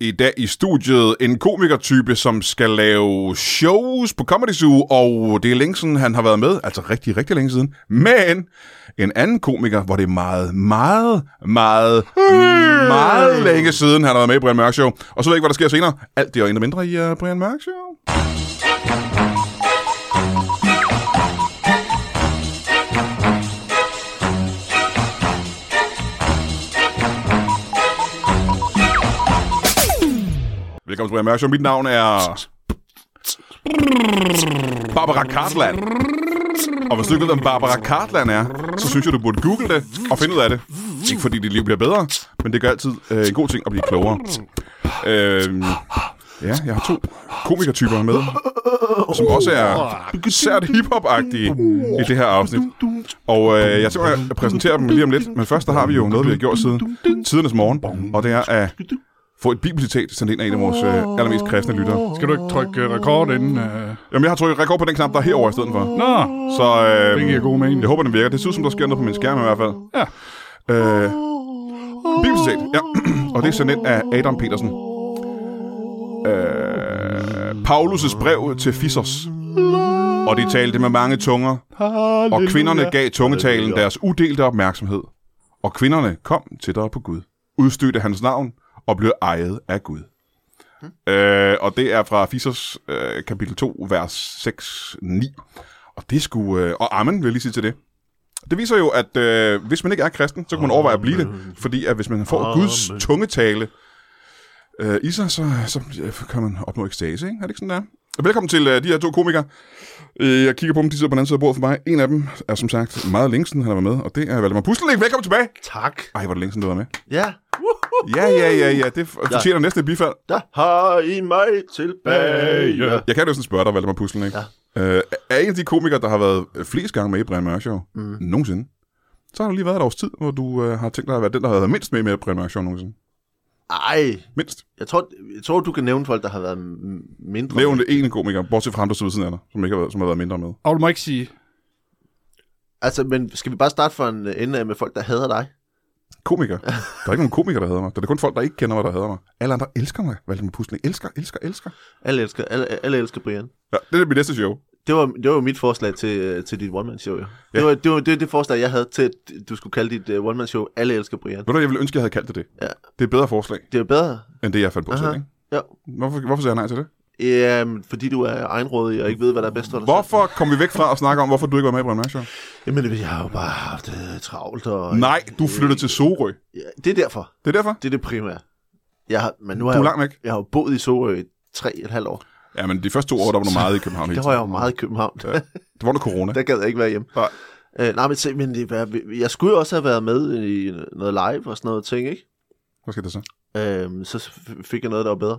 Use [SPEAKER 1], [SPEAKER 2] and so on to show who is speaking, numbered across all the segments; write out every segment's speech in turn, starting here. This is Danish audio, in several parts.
[SPEAKER 1] I dag i studiet en komikertype, som skal lave shows på Comedy Zoo, og det er længe siden, han har været med. Altså rigtig, rigtig længe siden. Men en anden komiker, hvor det er meget, meget, meget, meget længe siden, han har været med i Brian Mørk Show. Og så ved jeg ikke, hvad der sker senere. Alt det og endnu mindre i uh, Brian Mørk Show. Velkommen til Brian Mørk Show. Mit navn er... Barbara Cartland. Og hvis du ikke ved, hvem Barbara Cartland er, så synes jeg, du burde google det og finde ud af det. Ikke fordi dit liv bliver bedre, men det gør altid øh, en god ting at blive klogere. Øh, ja, jeg har to komikertyper med, som også er sært hiphop-agtige i det her afsnit. Og øh, jeg tænker, jeg præsenterer dem lige om lidt, men først der har vi jo noget, vi har gjort siden tidernes morgen, og det er at få et bibelcitat sendt ind af en af vores øh, allermest kristne lyttere.
[SPEAKER 2] Skal du ikke trykke øh, rekord inden? øh?
[SPEAKER 1] Jamen, jeg har trykket rekord på den knap, der er herovre i stedet for.
[SPEAKER 2] Nå,
[SPEAKER 1] Så øh,
[SPEAKER 2] det giver god mening.
[SPEAKER 1] jeg håber, den virker. Det ser ud som, der sker noget på min skærm i hvert fald.
[SPEAKER 2] Ja.
[SPEAKER 1] Øh, Bibelcitat, ja. Og det er sendt ind af Adam Petersen. Øh, Paulus' brev til Fissers. Og de talte med mange tunger, og kvinderne gav tungetalen deres udelte opmærksomhed. Og kvinderne kom tættere på Gud, udstødte hans navn og blev ejet af Gud. Øh, og det er fra Fissers øh, kapitel 2, vers 6-9. Og det skulle øh, og amen vil jeg lige sige til det. Det viser jo, at øh, hvis man ikke er kristen, så kan man overveje at blive det. Fordi at hvis man får
[SPEAKER 3] Amen.
[SPEAKER 1] Guds tungetale øh, i sig, så, så øh, kan man opnå ekstase, ikke? Er det ikke sådan, der? Velkommen til øh, de her to komikere. Øh, jeg kigger på dem, de sidder på den anden side af bordet for mig. En af dem er som sagt meget længe siden, han har været med, og det er Valdemar Pustelnik. Velkommen tilbage!
[SPEAKER 3] Tak.
[SPEAKER 1] Ej, hvor er det længe siden, du var med.
[SPEAKER 3] Ja.
[SPEAKER 1] Ja, ja, ja, ja. Det fortjener næsten et bifald.
[SPEAKER 3] Der har I mig tilbage.
[SPEAKER 1] Jeg kan jo sådan spørge dig, Valdemar Puslen, ikke? Ja. Øh, er en af de komikere, der har været flest gange med i Brian Mørk Show mm. nogensinde, så har du lige været et års tid, hvor du øh, har tænkt dig at være den, der har været mindst med i mere Brian Mørk Show nogensinde.
[SPEAKER 3] Ej,
[SPEAKER 1] Mindst.
[SPEAKER 3] jeg tror, jeg tror, du kan nævne folk, der har været m- mindre.
[SPEAKER 1] Nævn det ene komiker, bortset fra ham, der sidder ved siden af dig, som, ikke har været, som har været mindre med.
[SPEAKER 2] Og du må ikke sige...
[SPEAKER 3] Altså, men skal vi bare starte for en øh, ende af med folk, der hader dig?
[SPEAKER 1] Komiker. Der er ikke nogen komiker, der hader mig. Der er kun folk, der ikke kender mig, der hader mig. Alle andre elsker mig, Valdemar Puslen. Elsker, elsker, elsker.
[SPEAKER 3] Alle elsker, alle, alle elsker Brian.
[SPEAKER 1] Ja, det er mit næste show.
[SPEAKER 3] Det var, det var mit forslag til, øh, til dit one-man-show, jo. Ja. Det, var, det var det, var det forslag, jeg havde til, at du skulle kalde dit uh, one-man-show Alle elsker Brian.
[SPEAKER 1] Ved du, jeg ville ønske, jeg havde kaldt det det.
[SPEAKER 3] Ja.
[SPEAKER 1] Det er et bedre forslag,
[SPEAKER 3] Det er jo bedre.
[SPEAKER 1] end det, jeg fandt på
[SPEAKER 3] Aha.
[SPEAKER 1] selv, ikke?
[SPEAKER 3] Ja.
[SPEAKER 1] Hvorfor, hvorfor sagde jeg nej til det?
[SPEAKER 3] Øhm, fordi du er egenrådig og ikke ved, hvad der er bedst for dig.
[SPEAKER 1] Hvorfor kom vi væk fra at snakke om, hvorfor du ikke var med i Brian Mørk Show?
[SPEAKER 3] selv. Jamen, jeg har jo bare haft uh, travlt. Og...
[SPEAKER 1] Nej, du flyttede til Sorø.
[SPEAKER 3] Ja, det er derfor.
[SPEAKER 1] Det er derfor.
[SPEAKER 3] Det er det primære. Jeg har, men nu
[SPEAKER 1] Du
[SPEAKER 3] har
[SPEAKER 1] er
[SPEAKER 3] jeg,
[SPEAKER 1] langt væk.
[SPEAKER 3] jeg har jo boet i Sorø i tre og et halvt år.
[SPEAKER 1] Ja, men de første to år, der var du meget i København. hele
[SPEAKER 3] Der var jeg jo
[SPEAKER 1] tiden.
[SPEAKER 3] meget i København. Ja.
[SPEAKER 1] Det var under corona.
[SPEAKER 3] der gad jeg ikke være hjemme.
[SPEAKER 1] Nej.
[SPEAKER 3] Øh, nej, men, se, men det, var- jeg skulle jo også have været med i noget live og sådan noget ting, ikke?
[SPEAKER 1] Hvad skal det så?
[SPEAKER 3] Øhm, så f- fik jeg noget, der var bedre.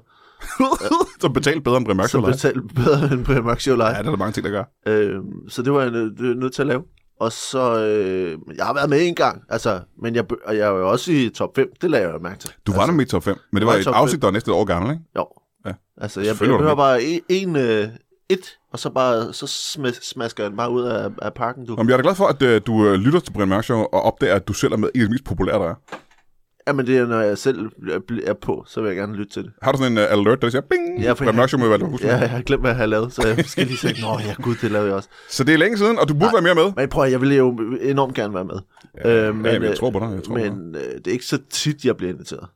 [SPEAKER 1] så betalt bedre end Brian Mørk
[SPEAKER 3] Så
[SPEAKER 1] Show Live.
[SPEAKER 3] betalte bedre end Brian Mørk Show Live.
[SPEAKER 1] Ja, det er der mange ting, der gør.
[SPEAKER 3] Øhm, så det var jeg nø- nø- nødt til at lave. Og så, øh, jeg har været med en gang, altså, men jeg, bø- og jeg er jo også i top 5, det lagde jeg jo mærke til.
[SPEAKER 1] Du var altså,
[SPEAKER 3] altså,
[SPEAKER 1] nemlig i top 5, men det
[SPEAKER 3] var
[SPEAKER 1] var
[SPEAKER 3] i
[SPEAKER 1] et
[SPEAKER 3] top
[SPEAKER 1] afsnit, der var næsten et år gammel, ikke?
[SPEAKER 3] Jo.
[SPEAKER 1] Ja.
[SPEAKER 3] Altså, jeg, jeg
[SPEAKER 1] Selvfølgelig var du
[SPEAKER 3] behøver
[SPEAKER 1] med.
[SPEAKER 3] bare en, en øh, et, og så, bare, så sm- smasker jeg den bare ud af, af parken, du.
[SPEAKER 1] Jamen, jeg er da glad for, at øh, du øh, lytter til Brian Mørk Show og opdager, at du selv er med i det mest populære, der er.
[SPEAKER 3] Jamen, det er, når jeg selv bl- er på, så vil jeg gerne lytte til det.
[SPEAKER 1] Har du sådan en øh, alert, der siger, bing,
[SPEAKER 3] Ja,
[SPEAKER 1] ja,
[SPEAKER 3] for
[SPEAKER 1] Brian
[SPEAKER 3] jeg-
[SPEAKER 1] Mørk Show med Valdemar Puslen.
[SPEAKER 3] Ja,
[SPEAKER 1] Ja.
[SPEAKER 3] jeg har glemt, hvad jeg har lavet, så jeg skal lige sige, nå ja, gud, det lavede jeg også.
[SPEAKER 1] Så det er længe siden, og du burde være mere med.
[SPEAKER 3] Men prøv at, jeg ville jo enormt gerne være med. Ja, øh, men,
[SPEAKER 1] jamen, jeg
[SPEAKER 3] øh,
[SPEAKER 1] tror på dig, jeg tror på
[SPEAKER 3] men øh, det er ikke så tit, jeg bliver inviteret.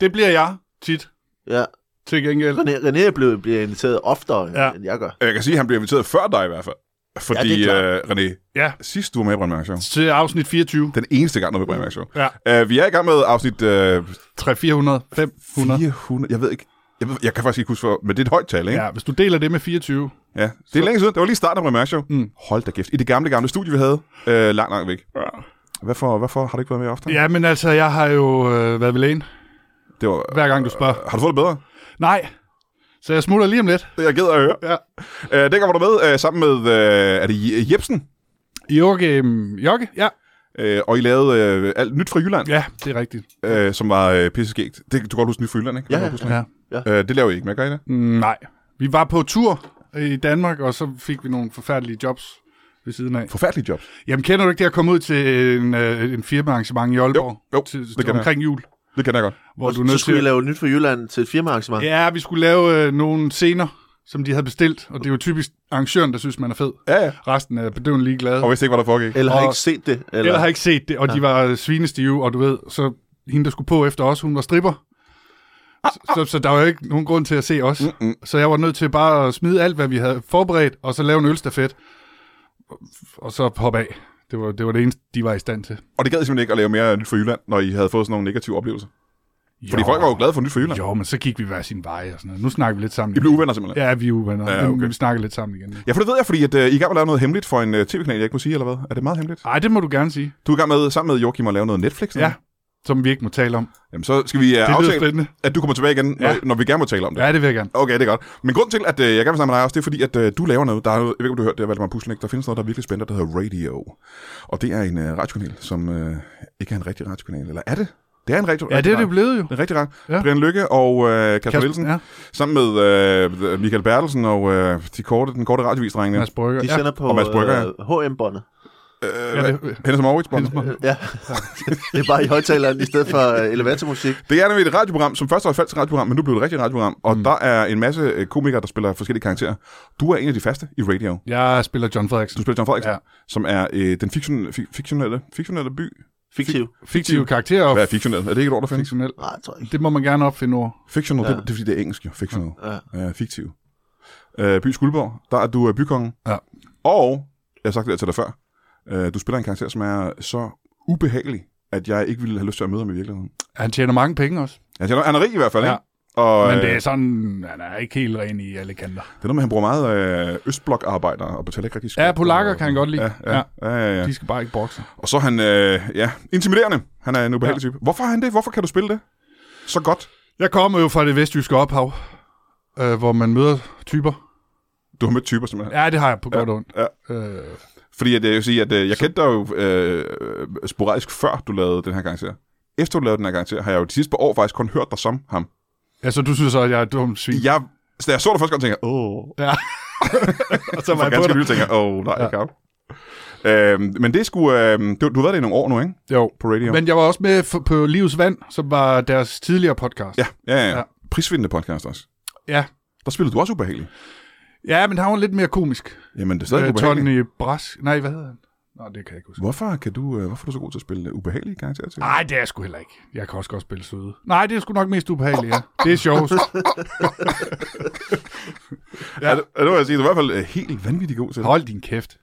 [SPEAKER 2] Det bliver jeg tit,
[SPEAKER 3] Ja,
[SPEAKER 2] til gengæld.
[SPEAKER 3] René, René blev, bliver inviteret oftere, ja.
[SPEAKER 2] Ja.
[SPEAKER 3] end jeg gør.
[SPEAKER 1] Jeg kan sige, at han blev inviteret før dig i hvert fald. Fordi,
[SPEAKER 3] Ja, det er
[SPEAKER 1] ja,
[SPEAKER 3] klart.
[SPEAKER 1] øh, René,
[SPEAKER 2] Ja,
[SPEAKER 1] sidst du var med i Brian Mørk Show.
[SPEAKER 2] til afsnit 24.
[SPEAKER 1] Den eneste gang, du var med i Brian Mørk Show.
[SPEAKER 2] Ja,
[SPEAKER 1] Uh, vi er i gang med afsnit øh,
[SPEAKER 2] 3, 400, 500.
[SPEAKER 1] 400. Jeg ved ikke. Jeg, ved, jeg kan faktisk ikke huske, hvor, men det er et højt tal, ikke?
[SPEAKER 2] Ja, hvis du deler det med 24.
[SPEAKER 1] Ja, det er længe siden. Det var lige starten af Brian Mørk Show.
[SPEAKER 2] Mm.
[SPEAKER 1] Hold da kæft. I det gamle, gamle studie, vi havde. Øh, langt, langt væk.
[SPEAKER 2] Ja.
[SPEAKER 1] Hvorfor, hvorfor har du ikke været med ofte?
[SPEAKER 2] Ja, men altså, jeg har jo øh, været ved lægen,
[SPEAKER 1] Det var,
[SPEAKER 2] hver gang du spørger.
[SPEAKER 1] har du fået det bedre?
[SPEAKER 2] Nej, så jeg smutter lige om lidt.
[SPEAKER 1] Det er jeg ked af at høre.
[SPEAKER 2] Ja.
[SPEAKER 1] Øh, dengang var du med øh, sammen med, øh, er det Je- Jebsen?
[SPEAKER 2] Jokke, øhm, Jokke, ja.
[SPEAKER 1] Øh, og I lavede øh, alt nyt fra Jylland,
[SPEAKER 2] Ja, det er rigtigt.
[SPEAKER 1] øh, som var øh, pisseskægt. Det, du kan godt huske nyt fra Jylland, ikke?
[SPEAKER 3] Ja,
[SPEAKER 1] Kan du godt huske
[SPEAKER 2] Ja.
[SPEAKER 1] det? Øh, det laver I ikke med, gør I det?
[SPEAKER 2] Mm, Nej, vi var på tur i Danmark, og så fik vi nogle forfærdelige jobs ved siden af.
[SPEAKER 1] Forfærdelige jobs.
[SPEAKER 2] Jamen, kender du ikke det at komme ud til en, øh, en firmaarrangement i Aalborg?
[SPEAKER 1] Jo, jo,
[SPEAKER 2] til,
[SPEAKER 1] det
[SPEAKER 2] til
[SPEAKER 1] kender
[SPEAKER 2] omkring jul.
[SPEAKER 1] Det kender jeg godt.
[SPEAKER 2] hvor du er
[SPEAKER 3] så
[SPEAKER 2] nødt
[SPEAKER 3] skulle vi
[SPEAKER 2] til...
[SPEAKER 3] lave nyt for Jylland til et firmaarrangement. Yeah.
[SPEAKER 2] Ja, vi skulle lave øh, nogle scener, som de havde bestilt, og det er jo typisk arrangøren, der synes, man er fed.
[SPEAKER 1] Ja, ja.
[SPEAKER 2] Resten er bedøvende ligeglade.
[SPEAKER 1] Og vidste ikke, hvad der foregik.
[SPEAKER 3] Eller har
[SPEAKER 2] Og-
[SPEAKER 3] ikke set det. Eller,
[SPEAKER 2] Eller har ikke set det, og de var øh, svinestive, og du ved, så hende, der skulle på efter os, hun var stripper. Så, så, så der var jo ikke nogen grund til at se os.
[SPEAKER 1] Ah, Mm-mm.
[SPEAKER 2] Så jeg var nødt til bare at smide alt, hvad vi havde forberedt, og så lave en ølstafet, og så hoppe af. Det var, det var det eneste, de var i stand til.
[SPEAKER 1] Og det gad I simpelthen ikke at lave mere nyt for Jylland, når I havde fået sådan nogle negative oplevelser. Fordi
[SPEAKER 2] Jo.
[SPEAKER 1] folk var jo glade for nyt for Jylland.
[SPEAKER 2] Jo, men så gik vi hver sin vej og sådan noget. Nu snakker vi lidt sammen.
[SPEAKER 1] I blev uvenner simpelthen.
[SPEAKER 2] Ja, vi er uvenner,
[SPEAKER 1] Ja,
[SPEAKER 2] ja, okay.
[SPEAKER 1] okay.
[SPEAKER 2] men vi snakker lidt sammen igen.
[SPEAKER 1] Ja, for det ved jeg, fordi at, øh, I er i gang med at lave noget hemmeligt for en øh, tv-kanal, jeg ikke må sige, eller hvad? Er det meget hemmeligt?
[SPEAKER 2] Ej, det må du gerne sige.
[SPEAKER 1] Du er i gang med, sammen med Joachim, at lave noget Netflix? nu?
[SPEAKER 2] Ah. Ja, som vi ikke må tale om.
[SPEAKER 1] Jamen, så skal vi uh,
[SPEAKER 2] Det lyder
[SPEAKER 1] aftale,
[SPEAKER 2] spændende.
[SPEAKER 1] at du kommer tilbage igen, når,
[SPEAKER 2] Ja.
[SPEAKER 1] når vi gerne må tale om det.
[SPEAKER 2] Ja, det vil jeg gerne.
[SPEAKER 1] Okay, det er godt. Men grund til, at øh, jeg gerne vil snakke med dig også, det er fordi, at øh, du laver noget. Der er, noget- jeg ved ikke, om du har hørt det, af Valdemar Puslenik. Der findes noget, der er virkelig spændende, der hedder Radio. Og det er en øh, radiokanal, som øh, ikke er en rigtig radiokanal. Eller er det? Det er en rigtig
[SPEAKER 2] Ja, det er det
[SPEAKER 1] radio-
[SPEAKER 2] blevet jo.
[SPEAKER 1] det er rigtig rart. Ja.
[SPEAKER 2] Ja.
[SPEAKER 1] Brian Lykke og øh, Kasper Nielsen, ja.
[SPEAKER 2] ja.
[SPEAKER 1] sammen med øh, Michael Bertelsen og øh, de korte, den korte radiovisdrengene.
[SPEAKER 2] Mads Brygger.
[SPEAKER 3] De
[SPEAKER 2] ja.
[SPEAKER 3] sender på
[SPEAKER 1] Og Mads Brygger, ja.
[SPEAKER 3] øh, HM-båndet.
[SPEAKER 1] Øh,
[SPEAKER 2] Ja,
[SPEAKER 1] ja,
[SPEAKER 2] det-
[SPEAKER 1] Hendes og Maurits,
[SPEAKER 2] Hendes
[SPEAKER 1] Hendes
[SPEAKER 2] Mauritz.
[SPEAKER 3] Ja, det er bare i højtaleren i stedet for øh, elevatormusik.
[SPEAKER 1] Det er nemlig et radioprogram, som først var et falsk radioprogram, men nu blev det et rigtigt radioprogram. Og mm. der er en masse øh, komikere, der spiller forskellige karakterer. Du er en af de faste i radio.
[SPEAKER 2] Jeg spiller John
[SPEAKER 1] Du
[SPEAKER 2] Frederiksen.
[SPEAKER 1] spiller John Frederiksen, ja.
[SPEAKER 2] Ja.
[SPEAKER 1] som er øh, den fiktion, fi- fiktionelle, fiktionelle by.
[SPEAKER 3] Fiktiv.
[SPEAKER 2] Fiktive karakterer og
[SPEAKER 1] Hvad er fiktionel? Er det ikke et ord, der findes?
[SPEAKER 2] fiktionel.
[SPEAKER 3] Nej, jeg tror jeg ikke.
[SPEAKER 2] Det må man gerne opfinde ord.
[SPEAKER 1] Fiktional, ja. det,
[SPEAKER 3] Ja.
[SPEAKER 1] det er fordi, det er engelsk jo. Fiktional.
[SPEAKER 3] Ja.
[SPEAKER 1] Ja. Uh, fiktiv. Uh, by Skuldborg, der er du uh, bykongen.
[SPEAKER 2] Ja.
[SPEAKER 1] Og, jeg har sagt det her til dig før, uh, du spiller en karakter, som er så ubehagelig, at jeg ikke ville have lyst til at møde ham i virkeligheden.
[SPEAKER 2] Han tjener mange penge også.
[SPEAKER 1] Han siger, han er rig i hvert fald,
[SPEAKER 2] Ja.
[SPEAKER 1] ikke? Og,
[SPEAKER 2] Men
[SPEAKER 1] øh,
[SPEAKER 2] det er sådan, han er ikke helt ren i alle kanter.
[SPEAKER 1] Det er noget med, at han bruger meget øh, østblokarbejdere og betaler ikke rigtig skat.
[SPEAKER 2] Ja, polakker
[SPEAKER 1] og-
[SPEAKER 2] kan han godt lide.
[SPEAKER 1] Ja, ja, ja. ja, ja.
[SPEAKER 2] De skal bare ikke brokse.
[SPEAKER 1] Og så er han, øh, ja, intimiderende. Han er en ubehagelig ja. type. Hvorfor er han det? Hvorfor kan du spille det? Så godt.
[SPEAKER 2] Jeg kommer jo fra det vestjyske ophav, øh, hvor man møder typer.
[SPEAKER 1] Du har mødt typer, simpelthen.
[SPEAKER 2] Ja, det har jeg på godt og ondt.
[SPEAKER 1] ja.
[SPEAKER 2] Øh,
[SPEAKER 1] Fordi at, jeg vil sige, at øh, jeg kendte dig jo øh, sporadisk før, du lavede den her karakter. Efter du lavede den her karakter, har jeg jo de sidste par år faktisk kun hørt dig som ham.
[SPEAKER 2] altså, du synes så, at jeg er et dumt svin.
[SPEAKER 1] Jeg, så da jeg så dig første gang, tænkte jeg, åh,
[SPEAKER 2] Ja. og så var
[SPEAKER 1] for
[SPEAKER 2] jeg på
[SPEAKER 1] ganske
[SPEAKER 2] dig.
[SPEAKER 1] vildt, tænker jeg, åh, nej,
[SPEAKER 2] Ja.
[SPEAKER 1] jeg kan ikke. Øhm, men det skulle, øh, du, du har været det i nogle år nu, ikke?
[SPEAKER 2] Jo.
[SPEAKER 1] På radio.
[SPEAKER 2] Men jeg var også med f- på Livets Vand, som var deres tidligere podcast.
[SPEAKER 1] Ja, ja, ja. ja.
[SPEAKER 2] Ja.
[SPEAKER 1] Prisvindende podcast også.
[SPEAKER 2] Ja,
[SPEAKER 1] Der spillede du også ubehagelig.
[SPEAKER 2] ja men han var lidt mere komisk.
[SPEAKER 1] Jamen, det er stadig øh,
[SPEAKER 2] Øh,
[SPEAKER 1] ubehageligt.
[SPEAKER 2] Tony Brask. Nej, hvad hedder han? Nå, det kan jeg ikke huske.
[SPEAKER 1] Hvorfor, kan du, øh, hvorfor er du så god til at spille øh, ubehagelige karakterer til?
[SPEAKER 2] Nej, det er jeg sgu heller ikke. Jeg kan også godt spille søde. Nej, det er sgu nok mest ubehageligt, ja. Det er sjovt.
[SPEAKER 1] Ja, det, det må jeg sige. Du er i hvert fald øh, helt vanvittig god til det.
[SPEAKER 2] Hold din kæft.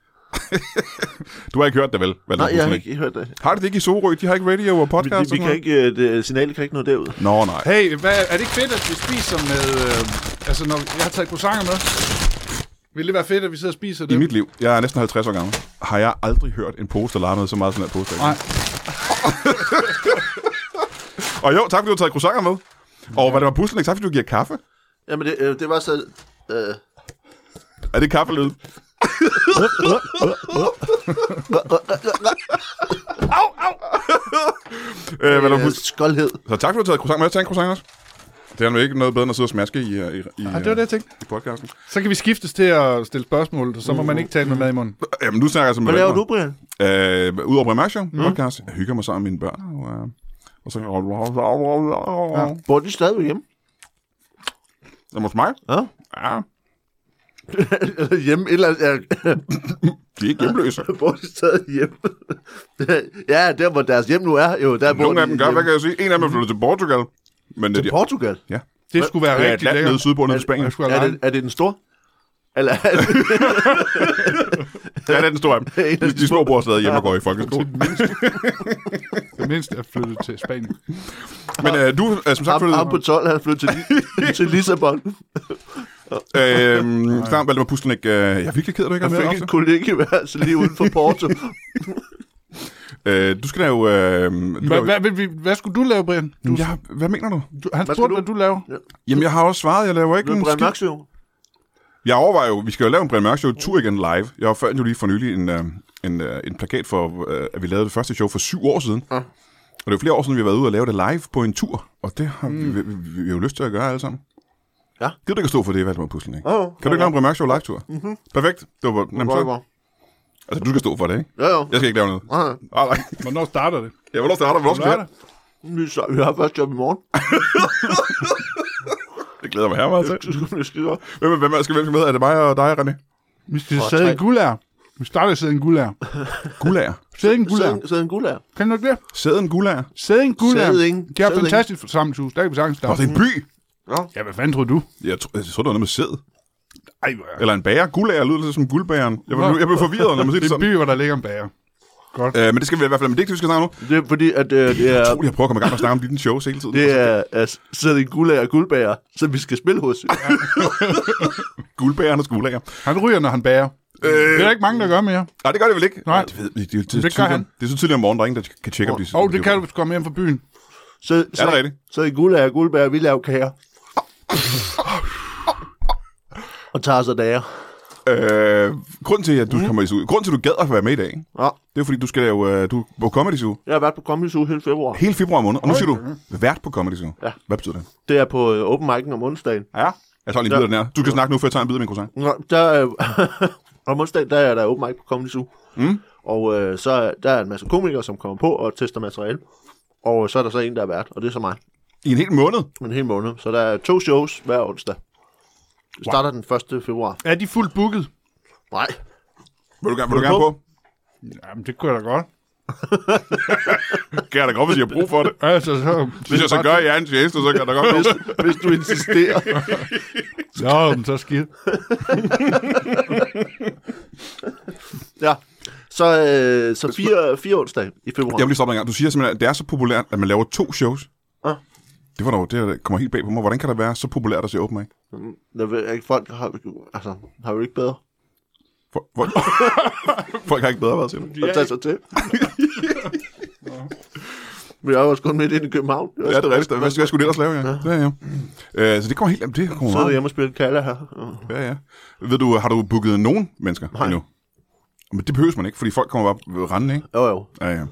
[SPEAKER 1] Du har ikke hørt det, vel? Hvad
[SPEAKER 3] Nej, jeg har ikke hørt det.
[SPEAKER 1] Har de det ikke i Sorø? De har ikke radio og
[SPEAKER 3] Vi,
[SPEAKER 1] podcast
[SPEAKER 3] vi,
[SPEAKER 1] og
[SPEAKER 3] vi
[SPEAKER 1] sådan
[SPEAKER 3] kan
[SPEAKER 1] noget?
[SPEAKER 3] ikke, øh, det, signalet kan ikke nå derud.
[SPEAKER 1] Nå, nej.
[SPEAKER 2] Hey, hvad, er det ikke fedt, at vi spiser med... Øh, altså, når jeg har taget croissanter med. Vil det være fedt, at vi sidder og spiser det?
[SPEAKER 1] I mit liv, jeg er næsten 50 år gammel, har jeg aldrig hørt en pose, der larmede så meget som den her pose. der.
[SPEAKER 2] Nej.
[SPEAKER 1] Og jo, tak fordi du har taget croissanter med. Og hvad det var puslen, tak fordi du giver kaffe.
[SPEAKER 3] Jamen, det, øh, det var så... Øh,
[SPEAKER 1] Er det kaffelyd?
[SPEAKER 2] Au, au!
[SPEAKER 1] Øh, hvad det var
[SPEAKER 3] øh,
[SPEAKER 1] pus-
[SPEAKER 3] skoldhed.
[SPEAKER 1] så tak fordi du har taget croissant med. Tag en croissant også. Det er nu ikke noget bedre, end at sidde og smaske i, øh, i, i,
[SPEAKER 2] Ja, det var det, jeg tænkte.
[SPEAKER 1] øh, i podcasten.
[SPEAKER 2] Så kan vi skiftes til at stille spørgsmål, så må man ikke tale med mad i munden.
[SPEAKER 1] Jamen, du snakker jeg som
[SPEAKER 3] Hvad laver du, Brian?
[SPEAKER 1] Øh, Udover Bremarkshow, mm. podcast, jeg hygger mig sammen med mine børn. Og, øh, og så... Ja.
[SPEAKER 3] Bor de stadigvæk hjemme?
[SPEAKER 1] Jamen, hos mig?
[SPEAKER 3] Ja?
[SPEAKER 1] Ja,
[SPEAKER 3] Eller hjemme? Et Eller, andet, ja,
[SPEAKER 1] de er ikke hjemløse.
[SPEAKER 3] bor de stadig hjemme? ja, der hvor deres hjem nu er, jo, der bor
[SPEAKER 1] Nogle af dem gør,
[SPEAKER 3] hjemme.
[SPEAKER 1] hvad kan jeg sige? En af dem er flyttet til Portugal. Men
[SPEAKER 3] Til
[SPEAKER 1] de,
[SPEAKER 3] Portugal?
[SPEAKER 1] ja.
[SPEAKER 2] Det skulle
[SPEAKER 1] Ja,
[SPEAKER 2] være
[SPEAKER 1] et
[SPEAKER 2] rigtig
[SPEAKER 1] land nede
[SPEAKER 2] lækkert.
[SPEAKER 1] sydpå nede i Spanien.
[SPEAKER 2] Jeg skulle
[SPEAKER 3] Er
[SPEAKER 2] have
[SPEAKER 3] det, er det den store? Eller er det,
[SPEAKER 1] Ja, det er den store af dem. De, de små bor stadig hjemme og går i folkeskole.
[SPEAKER 2] langt. mindst at flytte til Spanien.
[SPEAKER 1] Men øh, du er som sagt
[SPEAKER 3] ham, ham på
[SPEAKER 1] flyttet...
[SPEAKER 3] 12, han flyttede til, Li- til Lissabon?
[SPEAKER 1] Øh, snart Valdemar Puslenik. Øh, jeg er virkelig ked af, at du ikke
[SPEAKER 3] Han
[SPEAKER 1] er med
[SPEAKER 3] fik
[SPEAKER 1] ofte.
[SPEAKER 3] et kollegieværelse lige uden for Porto.
[SPEAKER 1] Øh, du skal lave... Øh, du
[SPEAKER 2] Hvad,
[SPEAKER 1] laver, Mm,
[SPEAKER 2] hvad, vil vi- hvad skulle du lave, Brian? Du,
[SPEAKER 1] ja, hvad mener du?
[SPEAKER 2] du, han
[SPEAKER 3] skal
[SPEAKER 2] spurgte,
[SPEAKER 3] du?
[SPEAKER 2] hvad du laver.
[SPEAKER 1] Jamen, jeg har også svaret. Jeg laver
[SPEAKER 3] Du
[SPEAKER 1] ikke
[SPEAKER 3] er
[SPEAKER 1] en
[SPEAKER 3] Brian
[SPEAKER 1] skid.
[SPEAKER 3] Mørksø.
[SPEAKER 1] Jeg overvejer jo, vi skal jo lave en Brian Mørk Show tur igen live. Jeg har fandt jo lige for nylig en, øh, en, øh, en plakat for, øh, at vi lavede det første show for syv år siden. Ja. Og det er jo flere år siden, vi har været ude og lave det live på en tur. Og det har mm. vi, vi, vi, vi, jo lyst til at gøre alle sammen.
[SPEAKER 3] Ja.
[SPEAKER 1] Gider du ikke at stå for det, Valdemar Puslen, ikke?
[SPEAKER 3] Jo, jo.
[SPEAKER 1] Kan du ikke lave en Brian Mørk Show live-tur? Mm-hmm. Perfekt. Det var nemt så.
[SPEAKER 3] Hvor-
[SPEAKER 1] Altså, du skal stå for det, ikke?
[SPEAKER 3] Ja, jo.
[SPEAKER 1] Jeg skal ikke lave noget.
[SPEAKER 3] Ja, ja.
[SPEAKER 1] Ah, nej.
[SPEAKER 2] Hvornår starter det?
[SPEAKER 1] Jeg vil også have dig, hvornår skal vi have?
[SPEAKER 3] Vi så- vi har først job i morgen.
[SPEAKER 1] Det glæder mig her meget til.
[SPEAKER 3] Så skal vi blive skide godt.
[SPEAKER 1] Hvem, hvem, hvem skal hvem skal med? Er det mig og dig, René?
[SPEAKER 2] Vi skal
[SPEAKER 3] Og
[SPEAKER 2] sidde
[SPEAKER 3] tre.
[SPEAKER 2] en guldær. Vi starter sidde en guldær.
[SPEAKER 1] Gulager.
[SPEAKER 2] Sæde en guldær.
[SPEAKER 3] Sæd- Sæd en guldær.
[SPEAKER 2] Kan du ikke det?
[SPEAKER 1] Sæden Gulager.
[SPEAKER 2] Sæde en guldær.
[SPEAKER 3] Sædding.
[SPEAKER 2] Det er et
[SPEAKER 3] Sædding.
[SPEAKER 2] fantastisk forsamlingshus. Der kan vi sagtens
[SPEAKER 1] Og det
[SPEAKER 2] starte.
[SPEAKER 1] er en by.
[SPEAKER 2] Ja, hvad fanden tror du?
[SPEAKER 1] Jeg, tro, jeg tror, det var noget med sæd.
[SPEAKER 2] Ej, hvor er det?
[SPEAKER 1] Eller en bager. Gulager lyder lidt som guldbæren. Jeg blev, jeg blev forvirret, når man siger
[SPEAKER 2] Det
[SPEAKER 1] det
[SPEAKER 2] er
[SPEAKER 1] sådan.
[SPEAKER 2] en by, hvor der ligger en bager. Godt.
[SPEAKER 1] Øh, men det skal vi i hvert fald, men det er ikke det, vi skal snakke om nu.
[SPEAKER 3] Det er fordi, at øh, det er...
[SPEAKER 1] Jeg tror, jeg prøver at komme i gang med at snakke om dine shows hele tiden.
[SPEAKER 3] Det er altså, sæd en guldær og guldbager, som vi skal spille hos.
[SPEAKER 1] Guldbærernes gulager.
[SPEAKER 2] Han ryger, når han bager. Det er der ikke mange, der gør mere.
[SPEAKER 1] Nej, Øh, det gør det vel ikke?
[SPEAKER 2] Nej.
[SPEAKER 1] det ved vi ikke. Det, det, det,
[SPEAKER 2] gør
[SPEAKER 1] det,
[SPEAKER 2] han.
[SPEAKER 1] det er så tidligt om morgenen, der er ingen, der kan tjekke, om de
[SPEAKER 2] Og det kan du, hvis du kommer hjem fra byen.
[SPEAKER 3] Så,
[SPEAKER 1] Er det rigtigt?
[SPEAKER 3] så en guldær og guldbager, vi laver kager. Og tager så dager.
[SPEAKER 1] Øh, grunden til, at
[SPEAKER 2] Mm.
[SPEAKER 1] du kommer i suge, grunden til, at du gad at være med i dag, ikke?
[SPEAKER 3] Ja.
[SPEAKER 1] det er fordi, du skal lave, øh, du er på Comedy Zoo
[SPEAKER 3] Jeg har været på Comedy Zoo hele februar.
[SPEAKER 1] hele februar måned, og nu siger du,
[SPEAKER 2] Mm.
[SPEAKER 1] vært på Comedy Zoo.
[SPEAKER 3] Ja.
[SPEAKER 1] Hvad betyder det?
[SPEAKER 3] Det er på øh, open mic'en om onsdagen.
[SPEAKER 1] Ja. Jeg tager lige en bid
[SPEAKER 3] Ja.
[SPEAKER 1] af den her. Du skal snakke nu, før jeg tager en bid af min croissant.
[SPEAKER 3] Nå, der, øh, om onsdagen, der er der open mic på Comedy Zoo.
[SPEAKER 1] Mm.
[SPEAKER 3] Og øh, så er- der er en masse komikere, som kommer på og tester materiale. Og øh, så er der så en, der er vært, og det er så mig.
[SPEAKER 1] I en hel måned?
[SPEAKER 3] En hel måned. Så der er to shows hver onsdag. Det starter den 1. februar.
[SPEAKER 2] Er de fuldt booket?
[SPEAKER 3] Nej,
[SPEAKER 1] Vil du, gerne- vil
[SPEAKER 3] Vil
[SPEAKER 1] du
[SPEAKER 3] du
[SPEAKER 1] gerne på?
[SPEAKER 2] Jamen, det kunne jeg da godt.
[SPEAKER 1] Kan jeg da godt, hvis jeg har brug for det.
[SPEAKER 2] Altså, så...
[SPEAKER 1] Hvis jeg så gør jer en tjeneste, så kan jeg da godt hvis,
[SPEAKER 3] hvis du insisterer.
[SPEAKER 2] Nå, men så skidt.
[SPEAKER 3] ja. Så, øh, så fire, fire onsdag i februar.
[SPEAKER 1] Jeg vil lige stoppe dig en gang. Du siger simpelthen, at det er så populært, at man laver to shows.
[SPEAKER 3] Ja.
[SPEAKER 1] Det var dog, det der kommer helt bag på mig. Hvordan kan det være så populært at se open mic?
[SPEAKER 3] Mm. Jeg ved ikke, folk har, altså, har jo ikke bedre
[SPEAKER 1] Folk, folk, folk har ikke bedre været til det.
[SPEAKER 3] at tage sig til. Men jeg er også kun midt ind i København.
[SPEAKER 1] Ja, det er rigtigt. Hvad, hvad skulle det ellers lave, ja? ja. ja, ja. Øh, så det kommer helt... jamen, Det kommer
[SPEAKER 3] Så er jeg
[SPEAKER 1] meget.
[SPEAKER 3] hjemme og spille Kalla her.
[SPEAKER 1] Ja, ja. Ved du, har du booket nogen mennesker Nej. endnu? Men det behøver man ikke, fordi folk kommer bare rendende, ikke?
[SPEAKER 3] Jo, jo.
[SPEAKER 1] Ja, ja.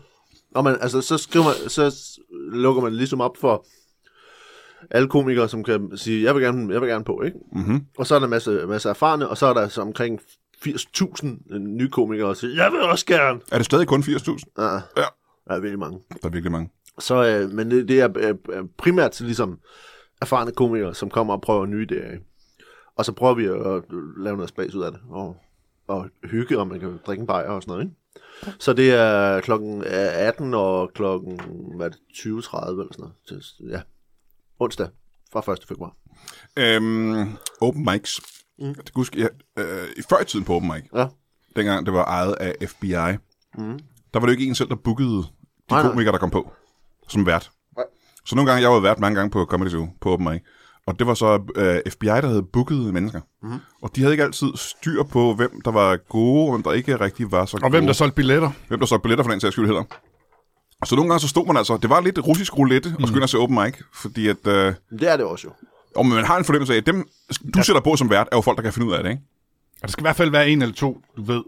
[SPEAKER 3] Og man, altså, så, skriver man, så s- lukker man ligesom op for alle komikere, som kan sige, jeg vil gerne, jeg vil gerne på, ikke? Mm-hmm. Og så er der en masse, masse erfarne, og så er der så omkring 80.000 nye komikere, der siger, jeg vil også gerne.
[SPEAKER 1] Er det stadig kun 80.000?
[SPEAKER 3] Ja,
[SPEAKER 1] Ja.
[SPEAKER 3] der er virkelig mange.
[SPEAKER 1] Der er virkelig mange.
[SPEAKER 3] Så, øh, men det, det er øh, øh, primært til ligesom erfarne komikere, som kommer og prøver nye idéer, ikke? Og så prøver vi at øh, lave noget spas ud af det, og, og hygge, og man kan drikke en bajer og sådan noget, ikke? Så det er klokken øh, 18 og klokken hvad er det, 20.30 eller sådan noget. til- Ja, onsdag fra 1. februar.
[SPEAKER 1] Øhm, open mics. Mm. Jeg kan huske, jeg, øh, i før i tiden på open mic,
[SPEAKER 3] Ja,
[SPEAKER 1] dengang det var ejet af FBI, mm. der var det jo ikke en selv, der bookede de
[SPEAKER 3] Nej, nej.
[SPEAKER 1] komikere, der kom på som vært.
[SPEAKER 3] Nej.
[SPEAKER 1] Så nogle gange, jeg var vært mange gange på Comedy Zoo, på open mic, og det var så øh, FBI, der havde booket mennesker.
[SPEAKER 3] Mhm.
[SPEAKER 1] Mm. Og de havde ikke altid styr på, hvem der var gode, og hvem der ikke rigtig var så
[SPEAKER 2] Og hvem
[SPEAKER 1] gode.
[SPEAKER 2] der solgte billetter?
[SPEAKER 1] hvem der solgte billetter for den sags skyld heller. Og så nogle gange, så stod man altså, det var lidt russisk roulette,
[SPEAKER 2] Mhm.
[SPEAKER 1] mm. og skynde at se open mic, fordi at... Øh,
[SPEAKER 3] men det er det også jo.
[SPEAKER 1] og man har en fornemmelse af, at dem, du sætter på som vært, er jo folk, der kan finde ud af det, ikke?
[SPEAKER 2] Og der skal i hvert fald være en eller to, du ved.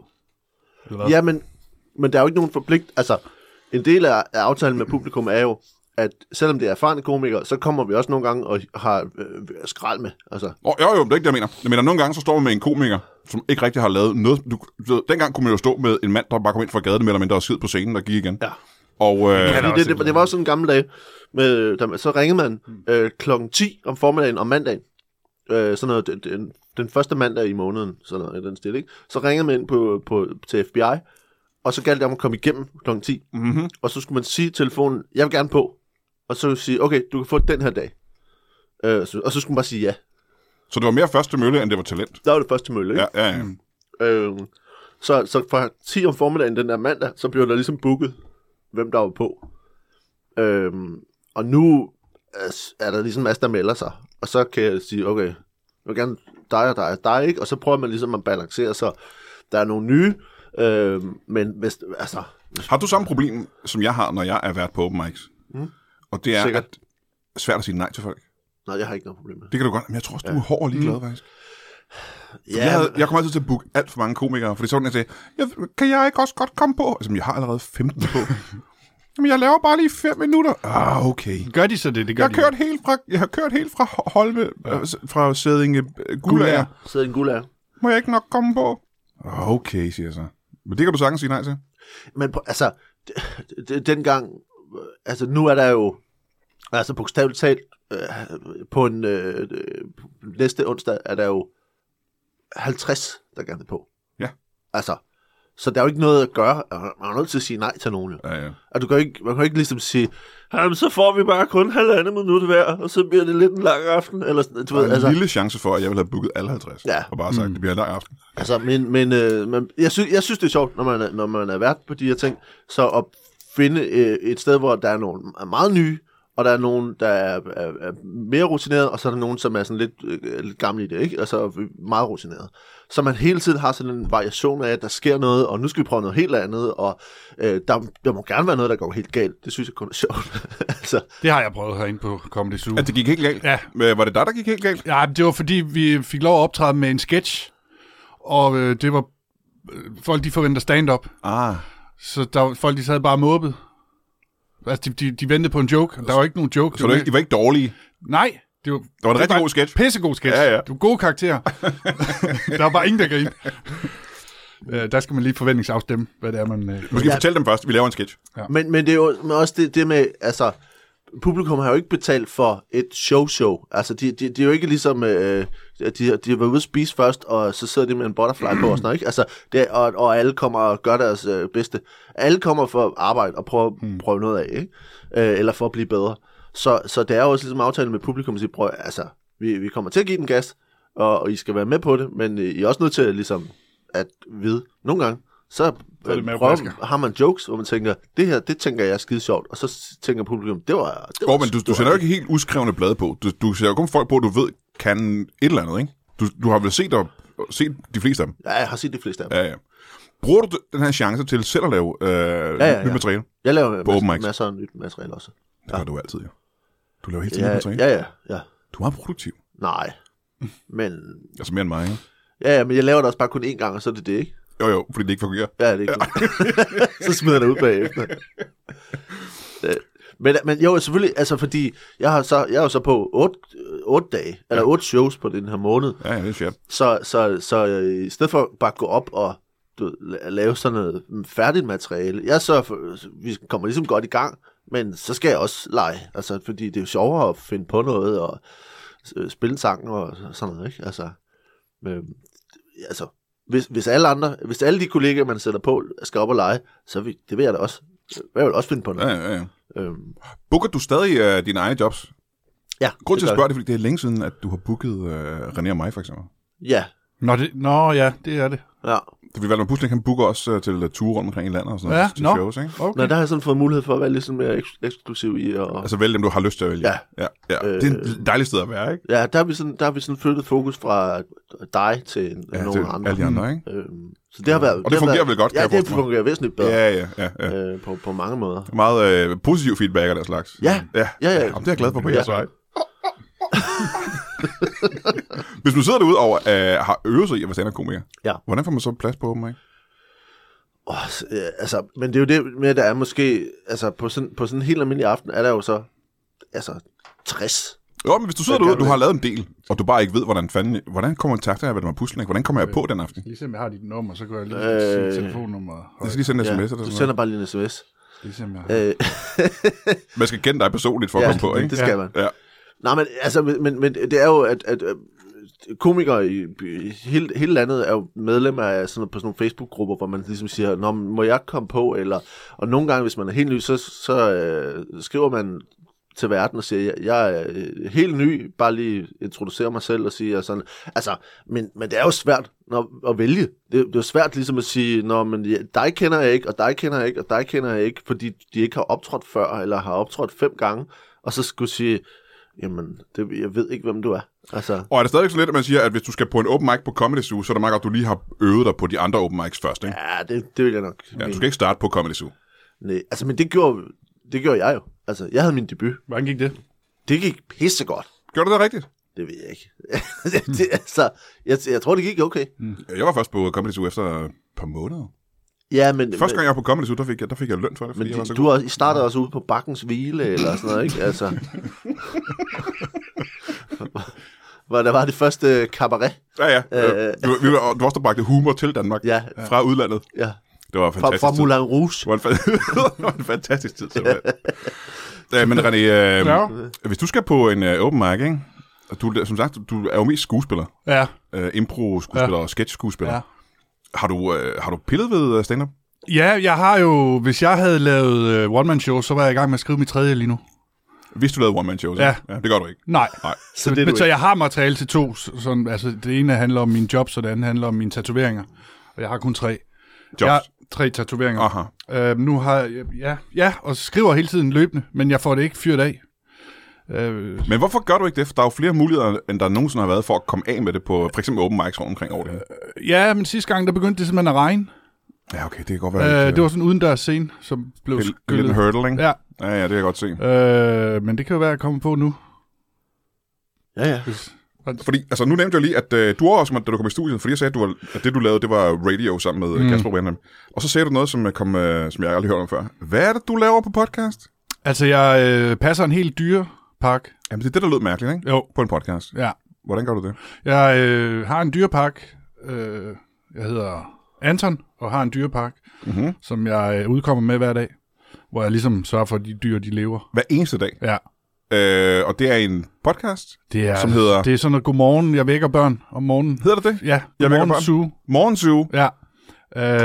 [SPEAKER 2] Eller hvad?
[SPEAKER 3] Ja, men, men der er jo ikke nogen forpligt. Altså, en del af, af aftalen med publikum er jo, at selvom det er erfarne komikere, så kommer vi også nogle gange og har øh, skrald med. Altså,
[SPEAKER 1] Nå, jo, jo, det er ikke det, jeg mener. Jeg mener, nogle gange, så står man med en komiker, som ikke rigtig har lavet noget. Du, du, ved, dengang kunne man jo stå med en mand, der bare kom ind fra gaden, eller mindre, og skid på scenen og gik igen.
[SPEAKER 3] Ja.
[SPEAKER 1] Og øh,
[SPEAKER 2] Ja,
[SPEAKER 1] ja,
[SPEAKER 2] der er
[SPEAKER 3] Fordi det,
[SPEAKER 2] simpelthen-
[SPEAKER 3] det, det var også sådan en gammel dag. Med, der, så ringede man øh, klokken 10 om formiddagen om mandagen. Øh, sådan noget, den, den, den første mandag i måneden, sådan noget, i den stil, ikke? Så ringede man ind på, på, til FBI, og så galt det om at komme igennem klokken 10.
[SPEAKER 1] Mhm.
[SPEAKER 3] Og så skulle man sige i telefonen, jeg vil gerne på. Og så sige, okay, du kan få den her dag. Øh, så, og så skulle man bare sige ja.
[SPEAKER 1] så det var mere første mølle, end det var talent.
[SPEAKER 3] Der var det første mølle, ikke?
[SPEAKER 1] Ja, ja, ja.
[SPEAKER 3] Ja. Øh, så, så fra 10 om formiddagen den der mandag, så blev der ligesom booket, hvem der var på. Øh, og nu er- er der ligesom en masse, der melder sig. Og så kan jeg sige, okay, jeg vil gerne dig og dig og dig, ikke? Og så prøver man ligesom at balancere, så der er nogle nye, øh, men hvis, altså,
[SPEAKER 1] Har du samme problem, som jeg har, når jeg er vært på open mics? Mm. Og det er
[SPEAKER 3] Sikkert.
[SPEAKER 1] at, svært at sige nej til folk.
[SPEAKER 3] nej, jeg har ikke noget problem med det.
[SPEAKER 1] Det kan du godt, men jeg tror også, du er hård og ligeglad, faktisk. Ja, jeg,
[SPEAKER 3] Mm. men-
[SPEAKER 1] havde, jeg kommer altid til at booke alt for mange komikere, fordi så var den, jeg sagde, jeg, kan jeg ikke også godt komme på? Altså, jeg har allerede 15 på. Jamen, jeg laver bare lige 5 minutter. Ah, okay.
[SPEAKER 2] Gør de så det? Det gør
[SPEAKER 1] Jeg har
[SPEAKER 2] de.
[SPEAKER 1] kørt helt fra, jeg har kørt helt fra Ho- Holme, ja. fra Sædinge øh, Gulager.
[SPEAKER 3] sidder en gulager.
[SPEAKER 1] Må jeg ikke nok komme på? Okay, siger jeg så. Men det kan du sagtens sige nej til.
[SPEAKER 3] Men prøv- altså, d- d- dengang, øh, altså nu er der jo Altså bogstaveligt talt, øh, på en øh, øh, næste onsdag er der jo 50, der gerne vil på.
[SPEAKER 1] Ja.
[SPEAKER 3] Altså, så der er jo ikke noget at gøre. Man er nødt til at sige nej til nogen jo.
[SPEAKER 1] Ja, ja.
[SPEAKER 3] Og du kan jo ikke, man kan jo ikke ligesom sige, Jamen, så får vi bare kun halvandet minut hver, og så bliver det lidt en lang aften, eller sådan,
[SPEAKER 1] Der
[SPEAKER 3] du
[SPEAKER 1] er
[SPEAKER 3] ved,
[SPEAKER 1] en
[SPEAKER 3] altså,
[SPEAKER 1] lille chance for, at jeg vil have booket alle 50.
[SPEAKER 3] Ja.
[SPEAKER 1] Og bare sagt, mm. det bliver en lang aften.
[SPEAKER 3] altså men, men, øh, men jeg, synes, jeg synes, det er sjovt, når man er, når man er vært på de her ting, så at finde øh, et sted, hvor der er nogle er meget nye, og der er nogen, der er, er, er mere rutineret, og så er der nogen, som er sådan lidt, øh, lidt gamle i det, ikke? Altså meget rutineret. Så man hele tiden har sådan en variation af, at der sker noget, og nu skal vi prøve noget helt andet, og øh, der, der må gerne være noget, der går helt galt. Det synes jeg kun er sjovt. altså,
[SPEAKER 2] Det har jeg prøvet herinde på Comedy Zoo.
[SPEAKER 1] At det gik helt galt?
[SPEAKER 2] Ja.
[SPEAKER 1] Øh, Var det dig, der gik helt galt?
[SPEAKER 2] Ja, det var fordi, vi fik lov at optræde med en sketch, og øh, det var... Øh, folk, de forventer stand-up,
[SPEAKER 1] Ah.
[SPEAKER 2] så der, var- folk, de sad bare måbet. Altså, de, de, de ventede på en joke. Der var ikke nogen joke.
[SPEAKER 1] Så du, ikke- I var ikke dårlige?
[SPEAKER 2] Nej, det var, det
[SPEAKER 1] var en rigtig god sketch.
[SPEAKER 2] Pissegod sketch.
[SPEAKER 1] Ja, ja.
[SPEAKER 2] Du var gode karakterer. der var bare ingen, der grinede. Øh, der skal man lige forventningsafstemme, hvad det er, man... Øh,
[SPEAKER 1] Måske ja. fortæl dem først, vi laver en sketch.
[SPEAKER 3] Men, men det er jo men også det, det med, altså, publikum har jo ikke betalt for et show-show. Altså, de, de, de er jo ikke ligesom, øh, at de, de har været ude at spise først, og så sidder de med en butterfly på og sådan noget, ikke? Altså, det, er- og, og alle kommer og gør deres øh, bedste. Alle kommer for at arbejde og prøve, hmm. prøve noget af, ikke? Øh, eller for at blive bedre. Så, så det er jo også ligesom aftalen med publikum, at sige, prøv, altså, vi, vi kommer til at give den gas, og, og I skal være med på det, men øh, I er også nødt til ligesom at vide, nogle gange, så,
[SPEAKER 2] Så er det
[SPEAKER 3] øh,
[SPEAKER 2] maveplasker.
[SPEAKER 3] har man jokes, hvor man tænker, det her, det tænker jeg er skide sjovt, og så s- tænker publikum, det var... Det var
[SPEAKER 1] Går, men du, du
[SPEAKER 3] det var-
[SPEAKER 1] sender jo ikke helt uskrevne blade på. Du, du sender jo kun folk på, du ved kan et eller andet, ikke? Du, du har vel set, og, set de fleste af dem?
[SPEAKER 3] Ja, jeg har set de fleste af dem.
[SPEAKER 1] Ja, ja. Bruger du den her chance til selv at lave øh, ja, ja,
[SPEAKER 3] ja,
[SPEAKER 1] ja.
[SPEAKER 3] ja.
[SPEAKER 1] nyt materiale?
[SPEAKER 3] Jeg laver
[SPEAKER 1] På open
[SPEAKER 3] masser,
[SPEAKER 1] mics.
[SPEAKER 3] masser af nyt materiale også.
[SPEAKER 1] Det gør du altid, ja. Du laver hele tiden nyt
[SPEAKER 3] Ja,
[SPEAKER 1] materiale.
[SPEAKER 3] ja, ja, ja.
[SPEAKER 1] Du er meget produktiv.
[SPEAKER 3] Nej. Men,
[SPEAKER 1] Altså mere end mig, ikke?
[SPEAKER 3] ja, ja, men jeg laver det også bare kun én gang, og så er det det, ikke?
[SPEAKER 1] Jo, jo, fordi det ikke fungerer.
[SPEAKER 3] Ja, det er ikke Så smider jeg det ud bagefter. Øh, Men, men jo, selvfølgelig, altså fordi, jeg, har så, jeg er jo så på otte, otte dage, eller otte shows på den her måned,
[SPEAKER 1] Ja, ja, det er sjovt.
[SPEAKER 3] Så, så, så øh, i stedet for bare at gå op og du, ved, la- lave sådan noget mm, færdigt materiale, jeg så for, vi kommer ligesom godt i gang, men så skal jeg også lege, altså, fordi det er jo sjovere at finde på noget og øh, spille en sang og sådan noget, ikke? Altså, øh, altså hvis, hvis alle andre, hvis alle de kollegaer, man sætter på, skal op og lege, så vil, det vil jeg da også, jeg vil også finde på
[SPEAKER 1] Ja,
[SPEAKER 3] noget.
[SPEAKER 1] ja, ja.
[SPEAKER 3] Ja. Øhm,
[SPEAKER 1] Booker du stadig øh, dine egne jobs?
[SPEAKER 3] ja,
[SPEAKER 1] Grunden til
[SPEAKER 3] det
[SPEAKER 1] at
[SPEAKER 3] gør
[SPEAKER 1] spørge det, er, fordi det er længe siden, at du har booket øh, René og mig, for eksempel.
[SPEAKER 3] jeg. Ja,
[SPEAKER 2] nå, det, nå, ja, det er det.
[SPEAKER 3] ja.
[SPEAKER 1] Det vil være, Pusling, han booker også øh, til øh, ture rundt omkring i landet og sådan noget.
[SPEAKER 2] Ja,
[SPEAKER 1] til
[SPEAKER 2] nå.
[SPEAKER 1] shows, ikke?
[SPEAKER 2] Okay.
[SPEAKER 3] Nå, der har jeg sådan fået mulighed for at være lidt sådan mere eks- eksklusiv i og,
[SPEAKER 1] Altså vælg dem, du har lyst til at vælge.
[SPEAKER 3] Ja. Øh,
[SPEAKER 1] ja, ja. Det er et dejligt sted at være, ikke?
[SPEAKER 3] Ja, der har vi sådan, der har vi sådan flyttet fokus fra dig til ja, nogle
[SPEAKER 1] det,
[SPEAKER 3] andre.
[SPEAKER 1] Alle de andre, ikke?
[SPEAKER 3] Øhm, så det har været...
[SPEAKER 1] det
[SPEAKER 3] har
[SPEAKER 1] fungerer
[SPEAKER 3] været,
[SPEAKER 1] vel godt, kan
[SPEAKER 3] Ja,
[SPEAKER 1] jeg
[SPEAKER 3] det
[SPEAKER 1] forestille mig.
[SPEAKER 3] fungerer væsentligt bedre
[SPEAKER 1] Ja, ja, ja. ja.
[SPEAKER 3] ja. øh, på, på mange måder.
[SPEAKER 1] Meget øh, positiv feedback af den slags.
[SPEAKER 3] Ja.
[SPEAKER 1] ja.
[SPEAKER 3] Ja, ja.
[SPEAKER 1] Jamen, det er jeg glad for på
[SPEAKER 3] Ja.
[SPEAKER 1] jeres vej. Hvis man sidder derude og øh, har øvet sig i at være stand-up-komiker,
[SPEAKER 3] Ja.
[SPEAKER 1] hvordan får man så plads på open mic?
[SPEAKER 3] Oh, altså, men det er jo det med, at der er måske... Altså, på sådan, på sådan en helt almindelig aften er der jo så... Altså, 60.
[SPEAKER 1] Jo, men hvis du sidder
[SPEAKER 3] Jeg
[SPEAKER 1] derude,
[SPEAKER 3] kan
[SPEAKER 1] du har lavet en del, og du bare ikke ved, hvordan fanden, hvordan kontakter jeg, hvad man pusler, hvordan kommer jeg på den aften?
[SPEAKER 2] Lige se, om jeg har dit nummer, så går jeg lige
[SPEAKER 3] Øh.
[SPEAKER 2] øh, sige telefonnummer.
[SPEAKER 1] Jeg
[SPEAKER 2] højt.
[SPEAKER 1] skal lige sende en sms
[SPEAKER 3] Ja,
[SPEAKER 1] eller
[SPEAKER 3] du
[SPEAKER 1] sådan
[SPEAKER 3] sender
[SPEAKER 1] noget.
[SPEAKER 3] bare lige en sms.
[SPEAKER 2] Lige se, om jeg har.
[SPEAKER 3] Øh,
[SPEAKER 1] Man skal kende dig personligt for at komme på, ikke?
[SPEAKER 3] det skal
[SPEAKER 2] Ja.
[SPEAKER 3] man.
[SPEAKER 1] Ja.
[SPEAKER 3] Nej, men, altså, men, men- men det er jo, at, at øh, komikere i, i hele, hele landet er jo medlemmer af sådan, på sådan nogle Facebook-grupper, hvor man ligesom siger, Nå, men må jeg komme på? Eller, og nogle gange, hvis man er helt ny, så, så øh, skriver man til verden og siger, jeg, jeg er øh, helt ny, bare lige introducere mig selv og sige, og sådan. Altså, men, men det er jo svært når, at vælge. Det, det er jo svært ligesom at sige, Nå, men ja, dig kender jeg ikke, og dig kender jeg ikke, og dig kender jeg ikke, fordi de ikke har optrådt før, eller har optrådt fem gange, og så skulle sige, Jamen, det, jeg ved ikke, hvem du er. Altså,
[SPEAKER 1] Og er det stadigvæk sådan lidt, at man siger, at hvis du skal på en open mic på Comedy Zoo, så er det meget godt, at du lige har øvet dig på de andre open mics først, ikke?
[SPEAKER 3] ja, det, det vil jeg nok.
[SPEAKER 1] Ja, du
[SPEAKER 3] mene.
[SPEAKER 1] skal ikke starte på Comedy Zoo.
[SPEAKER 3] Nej, altså, men det gjorde, det gjorde jeg jo. Altså, jeg havde min debut.
[SPEAKER 2] Hvordan gik det?
[SPEAKER 3] Det gik pissegodt.
[SPEAKER 1] Gør du det rigtigt?
[SPEAKER 3] Det ved jeg ikke. det, det, altså, jeg, jeg tror, det gik okay.
[SPEAKER 1] Øh, Jeg var først på Comedy Zoo efter et par måneder.
[SPEAKER 3] Ja, men,
[SPEAKER 1] Første
[SPEAKER 3] men,
[SPEAKER 1] gang jeg var på Comedy Zoo, der fik jeg, der fik jeg løn for det, fordi
[SPEAKER 3] men
[SPEAKER 1] jeg var
[SPEAKER 3] de,
[SPEAKER 1] så
[SPEAKER 3] du
[SPEAKER 1] god.
[SPEAKER 3] har, I startede også ude på Bakkens Hvile, eller sådan noget, ikke? Altså, hvor der var det første cabaret.
[SPEAKER 1] Ja, ja.
[SPEAKER 3] Øh,
[SPEAKER 1] Øh, du, vi var, du var også, der bragte humor til Danmark
[SPEAKER 3] Ja.
[SPEAKER 1] fra udlandet.
[SPEAKER 3] Ja,
[SPEAKER 1] Det var en
[SPEAKER 3] fra,
[SPEAKER 1] fantastisk
[SPEAKER 3] fra
[SPEAKER 1] tid.
[SPEAKER 3] Moulin Rouge.
[SPEAKER 1] Det var en, fa- det var en fantastisk tid, simpelthen. Øh, men René, øh,
[SPEAKER 2] Ja.
[SPEAKER 1] ja. hvis du skal på en øh, open mic, ikke? Og Du, som sagt, du er jo mest skuespiller.
[SPEAKER 2] Ja.
[SPEAKER 1] Øh, impro-skuespiller ja. og sketch-skuespiller.
[SPEAKER 2] Ja.
[SPEAKER 1] Ja. Har, du, øh, har du pillet ved øh, stand-up?
[SPEAKER 2] ja, jeg har jo... Hvis jeg havde lavet øh, one-man-show, så var jeg i gang med at skrive mit tredje lige nu.
[SPEAKER 1] Hvis du lavede one-man-shows?
[SPEAKER 2] Ja.
[SPEAKER 1] ja. Det gør du ikke.
[SPEAKER 2] Nej.
[SPEAKER 1] Nej.
[SPEAKER 3] Så det er
[SPEAKER 2] men,
[SPEAKER 3] du
[SPEAKER 2] så
[SPEAKER 3] ikke.
[SPEAKER 2] jeg har materiale til to. s- Sådan, altså, det ene handler om min job, så det andet handler om mine tatoveringer. Og jeg har kun tre.
[SPEAKER 1] Jobs?
[SPEAKER 2] Jeg
[SPEAKER 1] Ja.
[SPEAKER 2] har tre tatoveringer.
[SPEAKER 1] Aha.
[SPEAKER 3] Ah.
[SPEAKER 2] Øh, nu har jeg... Ja, ja, og skriver hele tiden løbende, men jeg får det ikke fyret af. Øh,
[SPEAKER 1] Men hvorfor gør du ikke det? For der er jo flere muligheder, end der nogensinde har været for at komme af med det på for eksempel open mics rundt omkring over det her.
[SPEAKER 2] ja, men sidste gang, der begyndte det simpelthen at regne.
[SPEAKER 1] Ja, okay, det kan godt være.
[SPEAKER 2] Øh,
[SPEAKER 1] lidt,
[SPEAKER 2] det var sådan en udendørs scene, som blev
[SPEAKER 1] øh, en lille
[SPEAKER 2] skyllet.
[SPEAKER 1] hurdle, ikke?
[SPEAKER 2] Ja,
[SPEAKER 1] Ja, ja, det kan jeg godt se.
[SPEAKER 2] øh, men det kan jo være, at jeg kommer på nu.
[SPEAKER 3] Ja, ja.
[SPEAKER 1] Fordi, altså nu nævnte jeg lige, at øh, du overraskede mig, da du kom i studiet, fordi jeg sagde, at, du var, at det du lavede, det var radio sammen med mm. Kasper Brandheim. Og så sagde du noget, som, øh, kom, øh, som jeg aldrig hørte om før. Hvad er det, du laver på podcast?
[SPEAKER 2] Altså, jeg øh, passer en helt dyrepark.
[SPEAKER 1] Jamen, det er det, der lød mærkeligt, ikke?
[SPEAKER 2] Jo.
[SPEAKER 1] På en podcast.
[SPEAKER 2] Ja.
[SPEAKER 1] Hvordan gør du det?
[SPEAKER 2] Jeg øh, har en dyrepark. Øh, jeg hedder Anton, og har en dyrepark,
[SPEAKER 1] Mm-hmm.
[SPEAKER 2] som jeg øh, udkommer med hver dag. Hvor jeg ligesom sørger for, at de dyr, de lever.
[SPEAKER 1] Hver eneste dag.
[SPEAKER 2] Ja.
[SPEAKER 1] Øh, og det er en podcast.
[SPEAKER 2] Det er,
[SPEAKER 1] Som hedder-
[SPEAKER 2] Det er sådan noget, godmorgen, jeg vækker børn om morgenen.
[SPEAKER 1] Hedder det det?
[SPEAKER 2] Ja,
[SPEAKER 1] vækker
[SPEAKER 2] godmorgen,
[SPEAKER 1] børn.
[SPEAKER 2] suge.
[SPEAKER 1] Morgensuge.
[SPEAKER 2] Ja.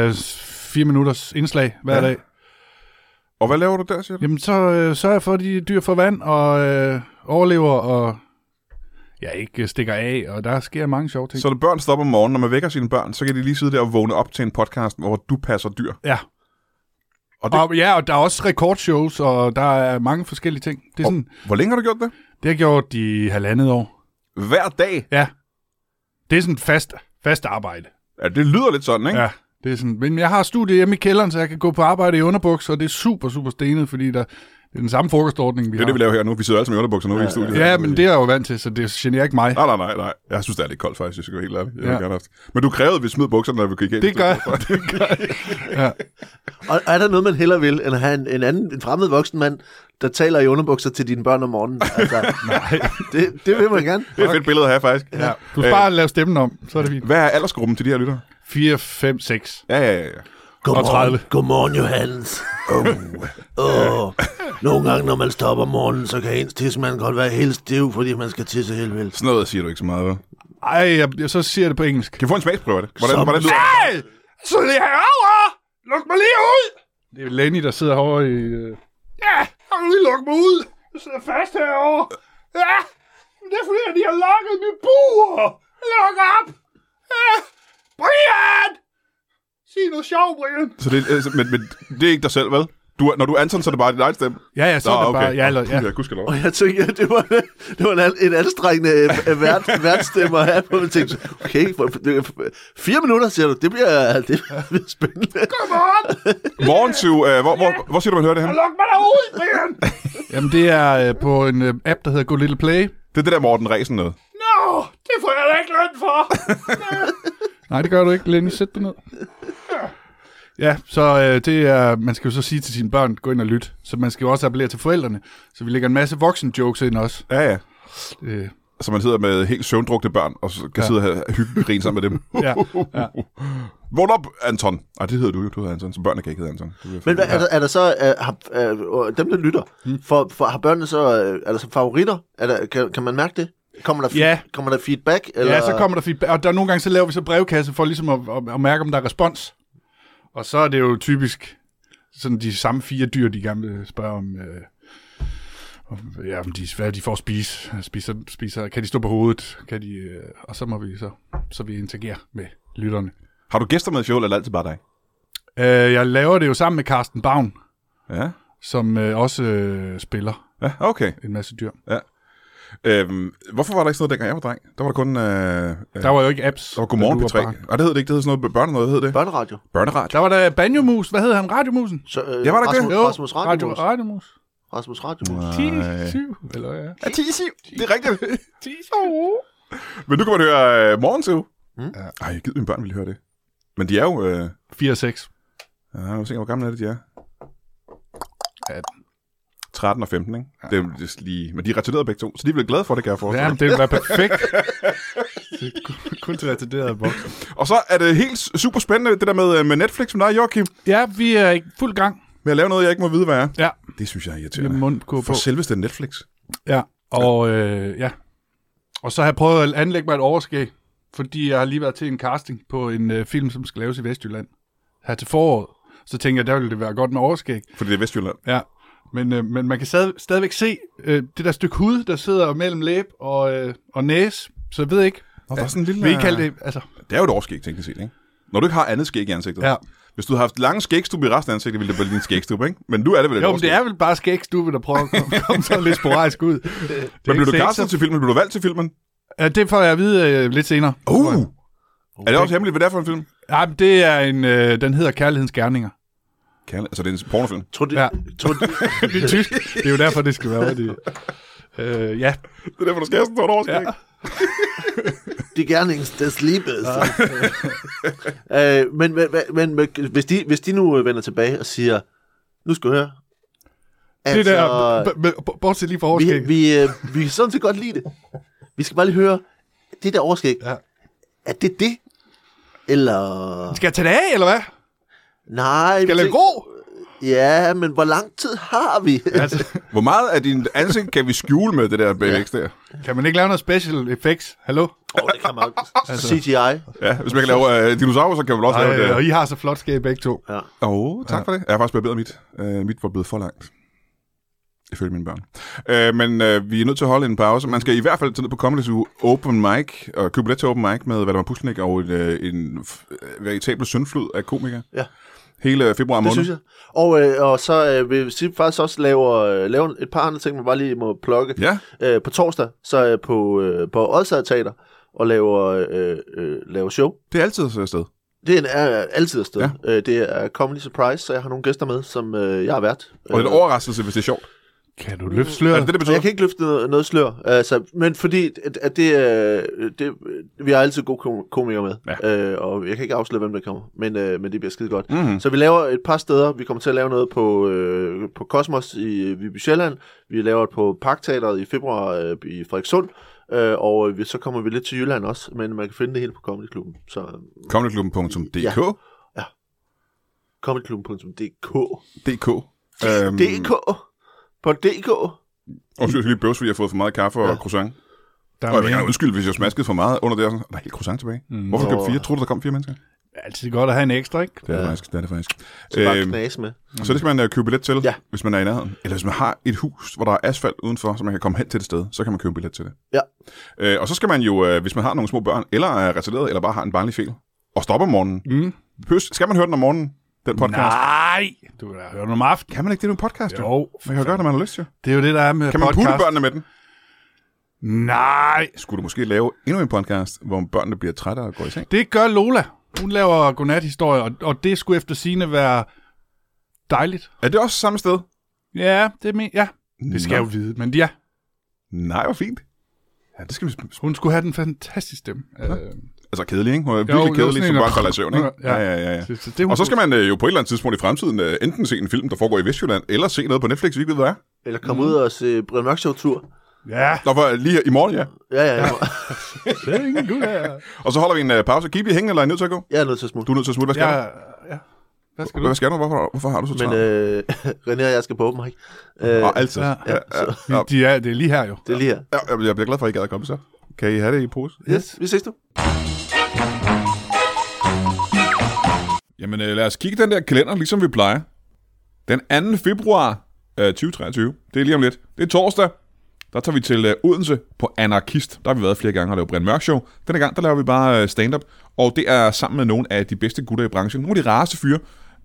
[SPEAKER 2] Øh, fire minutters indslag hver ja.
[SPEAKER 1] Ja.
[SPEAKER 2] dag.
[SPEAKER 1] Og hvad laver du der, siger du?
[SPEAKER 2] Jamen, så øh, sørger jeg for, at de dyr får vand og øh, overlever og ja, ikke øh, stikker af, og der sker mange sjove ting.
[SPEAKER 1] Så når børn stopper om morgenen, når man vækker sine børn, så kan de lige sidde der og vågne op til en podcast, hvor du passer dyr.
[SPEAKER 2] Ja. Og
[SPEAKER 1] Og
[SPEAKER 2] det...
[SPEAKER 1] det-
[SPEAKER 2] og, ja, og der er også rekordshows, og der er mange forskellige ting. Det, er
[SPEAKER 1] Og-
[SPEAKER 2] sådan,
[SPEAKER 1] Hvor længe har du gjort det?
[SPEAKER 2] det har jeg gjort i halvandet år.
[SPEAKER 1] Hver dag.
[SPEAKER 2] Ja. Det er sådan fast, fast arbejde.
[SPEAKER 1] Ja, det lyder lidt sådan, ikke?
[SPEAKER 2] Ja. Det er sådan, men jeg har studiet hjemme i kælderen, så jeg kan gå på arbejde i underbuks, og det er super, super stenet, fordi der, det er den samme frokostordning, vi
[SPEAKER 1] Det er
[SPEAKER 2] har.
[SPEAKER 1] det, vi laver her nu. Vi sidder alle sammen i underbukser nu ja, i studiet.
[SPEAKER 2] Ja, men det er jeg jo vant til, så det generer ikke mig.
[SPEAKER 1] Nej, nej, nej, nej. Jeg synes, det er lidt koldt faktisk, jeg skal være helt ærlig. Jeg
[SPEAKER 2] Ja.
[SPEAKER 1] ja. gerne have haft. Men du krævede, at vi smed bukserne, når vi gik ind.
[SPEAKER 2] Det gør jeg.
[SPEAKER 3] Og er der noget, man hellere vil, end at have en, en, anden, en fremmed voksen mand, der taler i underbukser til dine børn om morgenen? Altså, nej. Det, det vil man gerne.
[SPEAKER 1] Det er et fedt billede at have, faktisk.
[SPEAKER 2] Ja. Du
[SPEAKER 1] Øh.
[SPEAKER 2] skal bare lave stemmen om, så er det fint.
[SPEAKER 1] Hvad er aldersgruppen til de her lyttere?
[SPEAKER 2] 4, 5, 6.
[SPEAKER 1] Ja, ja, ja, ja.
[SPEAKER 2] tredive.
[SPEAKER 4] Godmorgen, godmorgen Johannes. Oh, oh. Nogle gange, når man stopper om morgenen, så kan ens tissemand godt være helt stiv, fordi man skal tisse helt vildt.
[SPEAKER 1] Sådan noget siger du ikke så meget, hvad?
[SPEAKER 2] Ej, jeg, jeg, så siger jeg det på engelsk.
[SPEAKER 1] Kan vi få en smagsprøve af det? Hvordan,
[SPEAKER 4] Som-
[SPEAKER 1] hvordan lyder det?
[SPEAKER 2] Ej! Så det herover! Luk mig lige ud! Det er Lenny, der sidder herovre i... øh, Ja, har du lige lukket mig ud? Jeg sidder fast herovre. Ja, men det er fordi, at de har lukket mit bur. Luk op! Ja, Brian! Sig noget sjov, Brian.
[SPEAKER 1] Så det, altså, men, men, det er ikke dig selv, vel? Du, er- når du er Anton, så er det bare dit eget stemme?
[SPEAKER 2] Ja, ja, så er det bare... Ja, eller, ja.
[SPEAKER 1] ja gudskelov.
[SPEAKER 3] Og jeg tænkte, at det var, det var en, al- en anstrengende øh, vært, værtstemme at have på. Jeg tænkte, okay, for, det, for- fire minutter, siger du, det bliver, det bliver spændende.
[SPEAKER 5] Godmorgen!
[SPEAKER 1] Morgensyv, øh, hvor, hvor, hvor siger du, man hører det her?
[SPEAKER 5] Luk mig derud, Brian!
[SPEAKER 2] Jamen, det er øh, på en øh, app, der hedder Go Little Play.
[SPEAKER 1] Det er det der Morten Ræsen noget.
[SPEAKER 5] Nå, det får jeg da ikke løn for.
[SPEAKER 2] Nej, det gør du ikke, Lenny. Sæt dig ned. Ja, så øh, det er, man skal jo så sige til sine børn, gå ind og lyt. Så man skal jo også appellere til forældrene. Så vi lægger en masse voksen jokes ind også.
[SPEAKER 1] Ja, ja.
[SPEAKER 2] Øh,
[SPEAKER 1] Så man sidder med helt søvndrukne børn, og så kan
[SPEAKER 2] Ja.
[SPEAKER 1] ja. sidde og have hyggeligt grin sammen med dem.
[SPEAKER 2] ja, ja.
[SPEAKER 1] Vågn op, Anton. Ej, det hedder du jo. Du hedder Anton, så børnene kan ikke hedde Anton. Det bliver
[SPEAKER 3] Men
[SPEAKER 1] fandme-
[SPEAKER 3] hvad, er, der, er der så, øh, har, øh, dem der lytter, for, for, har børnene så, øh, er der så favoritter? Er der, kan, kan man mærke det? Kommer der, fe-
[SPEAKER 2] Ja.
[SPEAKER 3] kommer der feedback? Eller?
[SPEAKER 2] ja, så kommer der feedback. Og der, nogle gange så laver vi så brevkasse for ligesom at, at, at mærke, om der er respons. Og så er det jo typisk sådan de samme fire dyr, de gerne vil spørge om... Øh, om, ja, om de, hvad de får at spise. Spiser, spiser, kan de stå på hovedet? Kan de, øh, og så må vi så, så vi interagerer med lytterne.
[SPEAKER 1] Har du gæster med i fjol, eller altid bare dig?
[SPEAKER 2] Øh, jeg laver det jo sammen med Carsten Bavn,
[SPEAKER 1] Ja,
[SPEAKER 2] som øh, også øh, spiller
[SPEAKER 1] ja okay.
[SPEAKER 2] en masse dyr.
[SPEAKER 1] Øhm, hvorfor var der ikke sådan noget, dengang jeg var dreng? Der var der kun... Øh, øh,
[SPEAKER 2] Der var jo ikke apps.
[SPEAKER 1] der var Godmorgen
[SPEAKER 2] da du
[SPEAKER 1] P3.
[SPEAKER 2] barn.
[SPEAKER 1] Nej, det hed det ikke. Det hed sådan noget børne noget, hed det.
[SPEAKER 3] Børneradio.
[SPEAKER 1] Børneradio.
[SPEAKER 2] Der var der Banjomus. Hvad hed han? Radiomusen?
[SPEAKER 3] Så, øh,
[SPEAKER 1] Ja, var der ikke
[SPEAKER 3] Rasmus,
[SPEAKER 1] det?
[SPEAKER 2] Jo,
[SPEAKER 3] Rasmus Radio.
[SPEAKER 2] Radio, Radiomus.
[SPEAKER 3] Rasmus Radio.
[SPEAKER 1] Nej.
[SPEAKER 2] 10, 7, eller ja.
[SPEAKER 1] Ja, 10 siv. Det er rigtigt.
[SPEAKER 2] 10, 7.
[SPEAKER 1] Men nu kan man høre øh, Morgensiv.
[SPEAKER 3] Mm.
[SPEAKER 2] Hmm?
[SPEAKER 1] Mm. Ej, jeg gider mine børn ville høre det. Men de er jo... Øh,
[SPEAKER 2] 4 og 6.
[SPEAKER 1] Ja, nu tænker jeg, hvor gamle er det, de er?
[SPEAKER 2] 18.
[SPEAKER 1] 13 og 15, ikke? Ja. Det er jo just lige, men de er retarderet begge to, så de er vel glade for det, kan jeg forestille
[SPEAKER 2] Ja,
[SPEAKER 1] ja.
[SPEAKER 2] men det ville være perfekt. Det er kun- kun til retarderede vokser.
[SPEAKER 1] Og så er det helt super spændende, det der med, øh, med Netflix med dig, Joachim,
[SPEAKER 2] Ja, vi er i fuld gang.
[SPEAKER 1] med at lave noget, jeg ikke må vide, hvad er.
[SPEAKER 2] Ja,
[SPEAKER 1] Det synes jeg er
[SPEAKER 2] Med
[SPEAKER 1] irriterende.
[SPEAKER 2] mundkur på.
[SPEAKER 1] For selveste Netflix.
[SPEAKER 2] Ja, og øh, ja. Og så har jeg prøvet at anlægge mig et overskæg, fordi jeg har lige været til en casting på en øh, film, som skal laves i Vestjylland her til foråret. Så tænker jeg, der ville det være godt med overskæg.
[SPEAKER 1] Fordi det er Vestjylland.
[SPEAKER 2] Ja, men, øh, men man kan stadig, stadigvæk se øh, det der stykke hud, der sidder mellem læb og, øh, og næse. Så jeg ved ikke,
[SPEAKER 1] Nå, der er sådan en lille...
[SPEAKER 2] vil I kalde det, altså,
[SPEAKER 1] Det er jo et overskæg, teknisk set, ikke? Når du ikke har andet skæg i ansigtet.
[SPEAKER 2] Ja.
[SPEAKER 1] Hvis du havde haft lange skægstube i resten af ansigtet, ville det bare ligne en skægstube, ikke? Men nu er det vel et
[SPEAKER 2] jo, men
[SPEAKER 1] overskæg.
[SPEAKER 2] det er vel bare skægstube, der prøver at komme, komme sådan lidt sporadisk ud.
[SPEAKER 1] men blev du
[SPEAKER 2] ikke
[SPEAKER 1] castet
[SPEAKER 2] så-
[SPEAKER 1] til filmen? Blev du valgt til filmen?
[SPEAKER 2] Ja, det får jeg at vide øh, lidt senere.
[SPEAKER 1] Uh! Er det også hemmeligt, hvad det er for en film?
[SPEAKER 2] Ja, men det er en, øh, den hedder Kærlighedens Gerninger.
[SPEAKER 1] Kan, altså, det er en pornofilm.
[SPEAKER 3] Tror det,
[SPEAKER 2] Ja.
[SPEAKER 3] ja. tror det,
[SPEAKER 2] det er tysk. Det er jo derfor, det skal være det. Øh, ja.
[SPEAKER 1] Det er derfor, du skal have sådan et overskæg.
[SPEAKER 2] Ja.
[SPEAKER 4] De gernings des Liebes.
[SPEAKER 3] øh, men men, men, men hvis, de, hvis de nu øh, vender tilbage og siger, nu skal du høre.
[SPEAKER 2] Det der, b- b- b- bortset lige fra
[SPEAKER 3] Altså, vi,
[SPEAKER 2] overskæg.
[SPEAKER 3] vi, øh, vi kan sådan set godt lide det. Vi skal bare lige høre, det der overskæg,
[SPEAKER 2] Ja.
[SPEAKER 3] ja. er det det? Eller...
[SPEAKER 2] Skal jeg tage det af, eller hvad?
[SPEAKER 3] Nej.
[SPEAKER 2] Skal jeg lade
[SPEAKER 3] det-
[SPEAKER 2] gå?
[SPEAKER 3] Ja, men hvor lang tid har vi?
[SPEAKER 2] Altså,
[SPEAKER 1] Hvor meget af din ansigt kan vi skjule med det der BX der?
[SPEAKER 2] kan man ikke lave noget special effects? Hallo?
[SPEAKER 3] oh, det kan man altså. CGI.
[SPEAKER 1] Ja, hvis man kan lave øh, dinosaurer, så kan man vel også lave
[SPEAKER 2] Ej, Øh, og
[SPEAKER 1] det.
[SPEAKER 2] I har så flot skæg begge to.
[SPEAKER 1] Åh, oh, tak for det. Jeg har faktisk barberet mit. Øh, mit var blevet for langt. Ifølge mine børn. Øh, men øh, vi er nødt til at holde en pause. Man skal i hvert fald tage ned på Comedy Zoo Open Mic, og købe billet til Open Mic med Valdemar Puslenik og en, øh, en f- veritabel syndflod af komikere.
[SPEAKER 3] Ja.
[SPEAKER 1] Hele øh, februar måned.
[SPEAKER 3] Det synes jeg. Og, øh, og så øh, vil vi faktisk også lave, øh, lave et par andre ting, man bare lige må plukke.
[SPEAKER 1] Ja.
[SPEAKER 3] Øh, på torsdag, så er jeg på, øh, på Odsager Teater og laver, øh, øh, laver show.
[SPEAKER 1] Det er altid sådan et sted.
[SPEAKER 3] Det er en, er altid afsted.
[SPEAKER 1] Ja.
[SPEAKER 3] Ja. Øh, det er Comedy Surprise, så jeg har nogle gæster med, som øh, jeg har været.
[SPEAKER 1] Og det er en overraskelse, hvis det er sjovt.
[SPEAKER 2] Kan du løfte
[SPEAKER 1] Er
[SPEAKER 2] sløret?
[SPEAKER 1] det det, det
[SPEAKER 3] Så
[SPEAKER 1] betyder?
[SPEAKER 3] jeg kan ikke løfte noget, noget slør, altså, men fordi at, at det, øh, det, vi har altid gode kom- komikere med, ja. øh, og jeg kan ikke afsløre, hvem der kommer, men, øh, men det bliver skide godt.
[SPEAKER 1] Mhm.
[SPEAKER 3] Så vi laver et par steder, vi kommer til at lave noget på, øh, på Cosmos i øh, Viby Sjælland, vi laver det på Parkteateret i februar øh, i Frederikssund, øh, og vi, så kommer vi lidt til Jylland også, men man kan finde det hele på Comedy Klubben, så øh,
[SPEAKER 1] Comedyklubben.dk
[SPEAKER 3] comedyklubben.dk
[SPEAKER 1] DK. Øhm,
[SPEAKER 3] DK på DK
[SPEAKER 1] Og jeg skal lige bøvse, fordi jeg har fået for meget kaffe og croissant.
[SPEAKER 2] Der
[SPEAKER 1] Og jeg vil
[SPEAKER 2] mere.
[SPEAKER 1] gerne undskylde, hvis jeg smaskede for meget under det. og sådan, Der er helt croissant tilbage. Mm. Hvorfor kom
[SPEAKER 3] Nå.
[SPEAKER 1] fire? Tror du, der kom fire mennesker?
[SPEAKER 2] Det er altid godt at have en ekstra, ikke?
[SPEAKER 1] Det er det faktisk. Det er det faktisk.
[SPEAKER 3] så bare
[SPEAKER 1] Øhm,
[SPEAKER 3] knas med.
[SPEAKER 1] så det skal man øh, købe billet til, ja.
[SPEAKER 3] Ja.
[SPEAKER 1] hvis man er i nærheden. Eller hvis man har et hus, hvor der er asfalt udenfor, så man kan komme hen til det sted, så kan man købe billet til det.
[SPEAKER 3] Ja.
[SPEAKER 1] Øh, og så skal man jo, øh, hvis man har nogle små børn, eller er retarderet, eller bare har en barnlig fel, og stopper om morgenen.
[SPEAKER 2] Mm.
[SPEAKER 1] Høst, skal man høre den om morgenen, den podcast?
[SPEAKER 2] Nej! Du kan da høre den om aftenen.
[SPEAKER 1] Kan man ikke det med en podcast? Jo.
[SPEAKER 2] Jo,
[SPEAKER 1] Man kan jo gøre det, man har lyst til.
[SPEAKER 2] det er jo det, der er med
[SPEAKER 1] Kan man
[SPEAKER 2] podcast.
[SPEAKER 1] putte børnene med den?
[SPEAKER 2] Nej!
[SPEAKER 1] Skulle du måske lave endnu en podcast, hvor børnene bliver trætte og går i seng?
[SPEAKER 2] Det gør Lola. Hun laver godnat-historier, og, og det skulle efter sine være dejligt.
[SPEAKER 1] Er det også samme sted?
[SPEAKER 2] Ja, det, men, ja. det skal
[SPEAKER 1] Nå.
[SPEAKER 2] jeg jo vide, men ja.
[SPEAKER 1] Nej, hvor fint. Ja, det skal vi...
[SPEAKER 2] Hun skulle have den fantastiske stemme. Øh,
[SPEAKER 1] Altså kedelig, ikke? Hun er virkelig
[SPEAKER 2] det var
[SPEAKER 1] jo, kedelig,
[SPEAKER 2] sådan
[SPEAKER 1] som
[SPEAKER 2] en,
[SPEAKER 1] bare
[SPEAKER 2] der-
[SPEAKER 1] falder i søvn, ikke?
[SPEAKER 2] Ja.
[SPEAKER 1] Ja, ja, ja. ja.
[SPEAKER 2] så, så det, hun
[SPEAKER 1] Og så skal man øh, jo på et eller andet tidspunkt i fremtiden øh, enten se en film, der foregår i Vestjylland, eller se noget på Netflix, vi ikke ved, hvad er.
[SPEAKER 3] Eller komme mm. ud og se Brian Mørk Show-tur.
[SPEAKER 2] Ja,
[SPEAKER 1] Nå, for øh, lige i morgen, ja.
[SPEAKER 3] Ja, ja, ja.
[SPEAKER 2] det er ingen gud her.
[SPEAKER 1] Og så holder vi en øh, pause. Kan I blive hængende, eller er I nødt til at gå?
[SPEAKER 3] Jeg er nødt til at smutte.
[SPEAKER 1] Du er nødt til at smutte. Hvad skal
[SPEAKER 2] Ja,
[SPEAKER 1] ja. du?
[SPEAKER 2] ja. Hvad skal du?
[SPEAKER 1] Hvad skal du? Hvorfor, hvorfor har du så
[SPEAKER 3] Men
[SPEAKER 1] travlt? Øh,
[SPEAKER 3] øh, René og jeg skal på open mic. Øh,
[SPEAKER 1] og altid.
[SPEAKER 2] ja,
[SPEAKER 1] Ja, ja, ja, ja,
[SPEAKER 2] De er, det er lige her jo.
[SPEAKER 3] det er lige her.
[SPEAKER 1] ja, jeg bliver glad for, at I gad at komme så. Kan I have det i pose?
[SPEAKER 3] Yes, vi ses nu.
[SPEAKER 1] Jamen, øh, lad os kigge den der kalender, ligesom vi plejer. Den 2. februar øh, 2023, det er lige om lidt. Det er torsdag. Der tager vi til øh, Odense på Anarkist. Der har vi været flere gange og lavet Brian Mørk Show. Denne gang, der laver vi bare øh, stand-up. Og det er sammen med nogle af de bedste gutter i branchen. Nogle af de rareste fyre.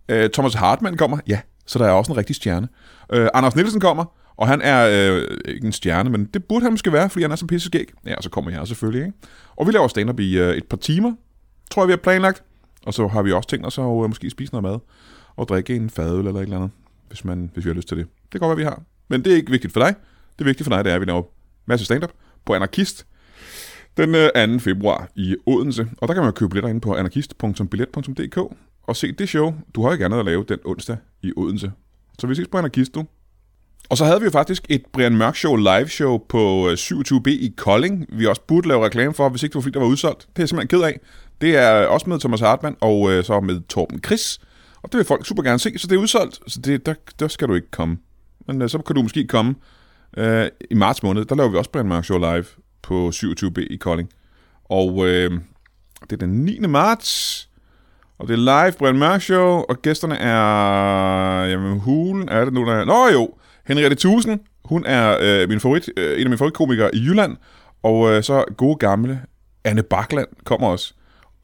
[SPEAKER 1] Øh, Thomas Hartmann kommer. Ja, så der er også en rigtig stjerne. Øh, Anders Nielsen kommer. Og han er øh, ikke en stjerne, men det burde han måske være, fordi han er så pisseskæg. Ja, og så kommer jeg selvfølgelig, ikke? Og vi laver stand-up i øh, et par timer, tror jeg, vi har planlagt. Og så har vi også tænkt os at øh, måske spise noget mad og drikke en fadøl eller et eller andet, hvis, man, hvis vi har lyst til det. Det kan godt være, vi har. Men det er ikke vigtigt for dig. Det vigtige for dig, det er, at vi laver masse stand-up på Anarkist den øh, 2. februar i Odense. Og der kan man jo købe billetter inde på anarkist.billet.dk og se det show. Du har jo ikke andet at lave den onsdag i Odense. Så vi ses på Anarkist, du. Og så havde vi jo faktisk et Brian Mørk Show live show på øh, 27B i Kolding. Vi også burde lave reklame for, hvis ikke det var fordi, der var udsolgt. Det er jeg simpelthen ked af. Det er også med Thomas Hartmann og øh, så med Torben Chris. Og det vil folk super gerne se, så det er udsolgt. Så det, der, der skal du ikke komme. men øh, så kan du måske komme. Øh, I marts måned, der laver vi også Brian Mørk Show live på 27B i Kolding. Og øh, det er den 9. marts, og det er live Brian Mørk Show, og gæsterne er... Jamen, hulen er det nu, der er... Nå jo, Henriette Tusen, hun er øh, min favorit, øh, en af mine favoritkomikere i Jylland, og øh, så gode gamle Anne Bakland kommer også.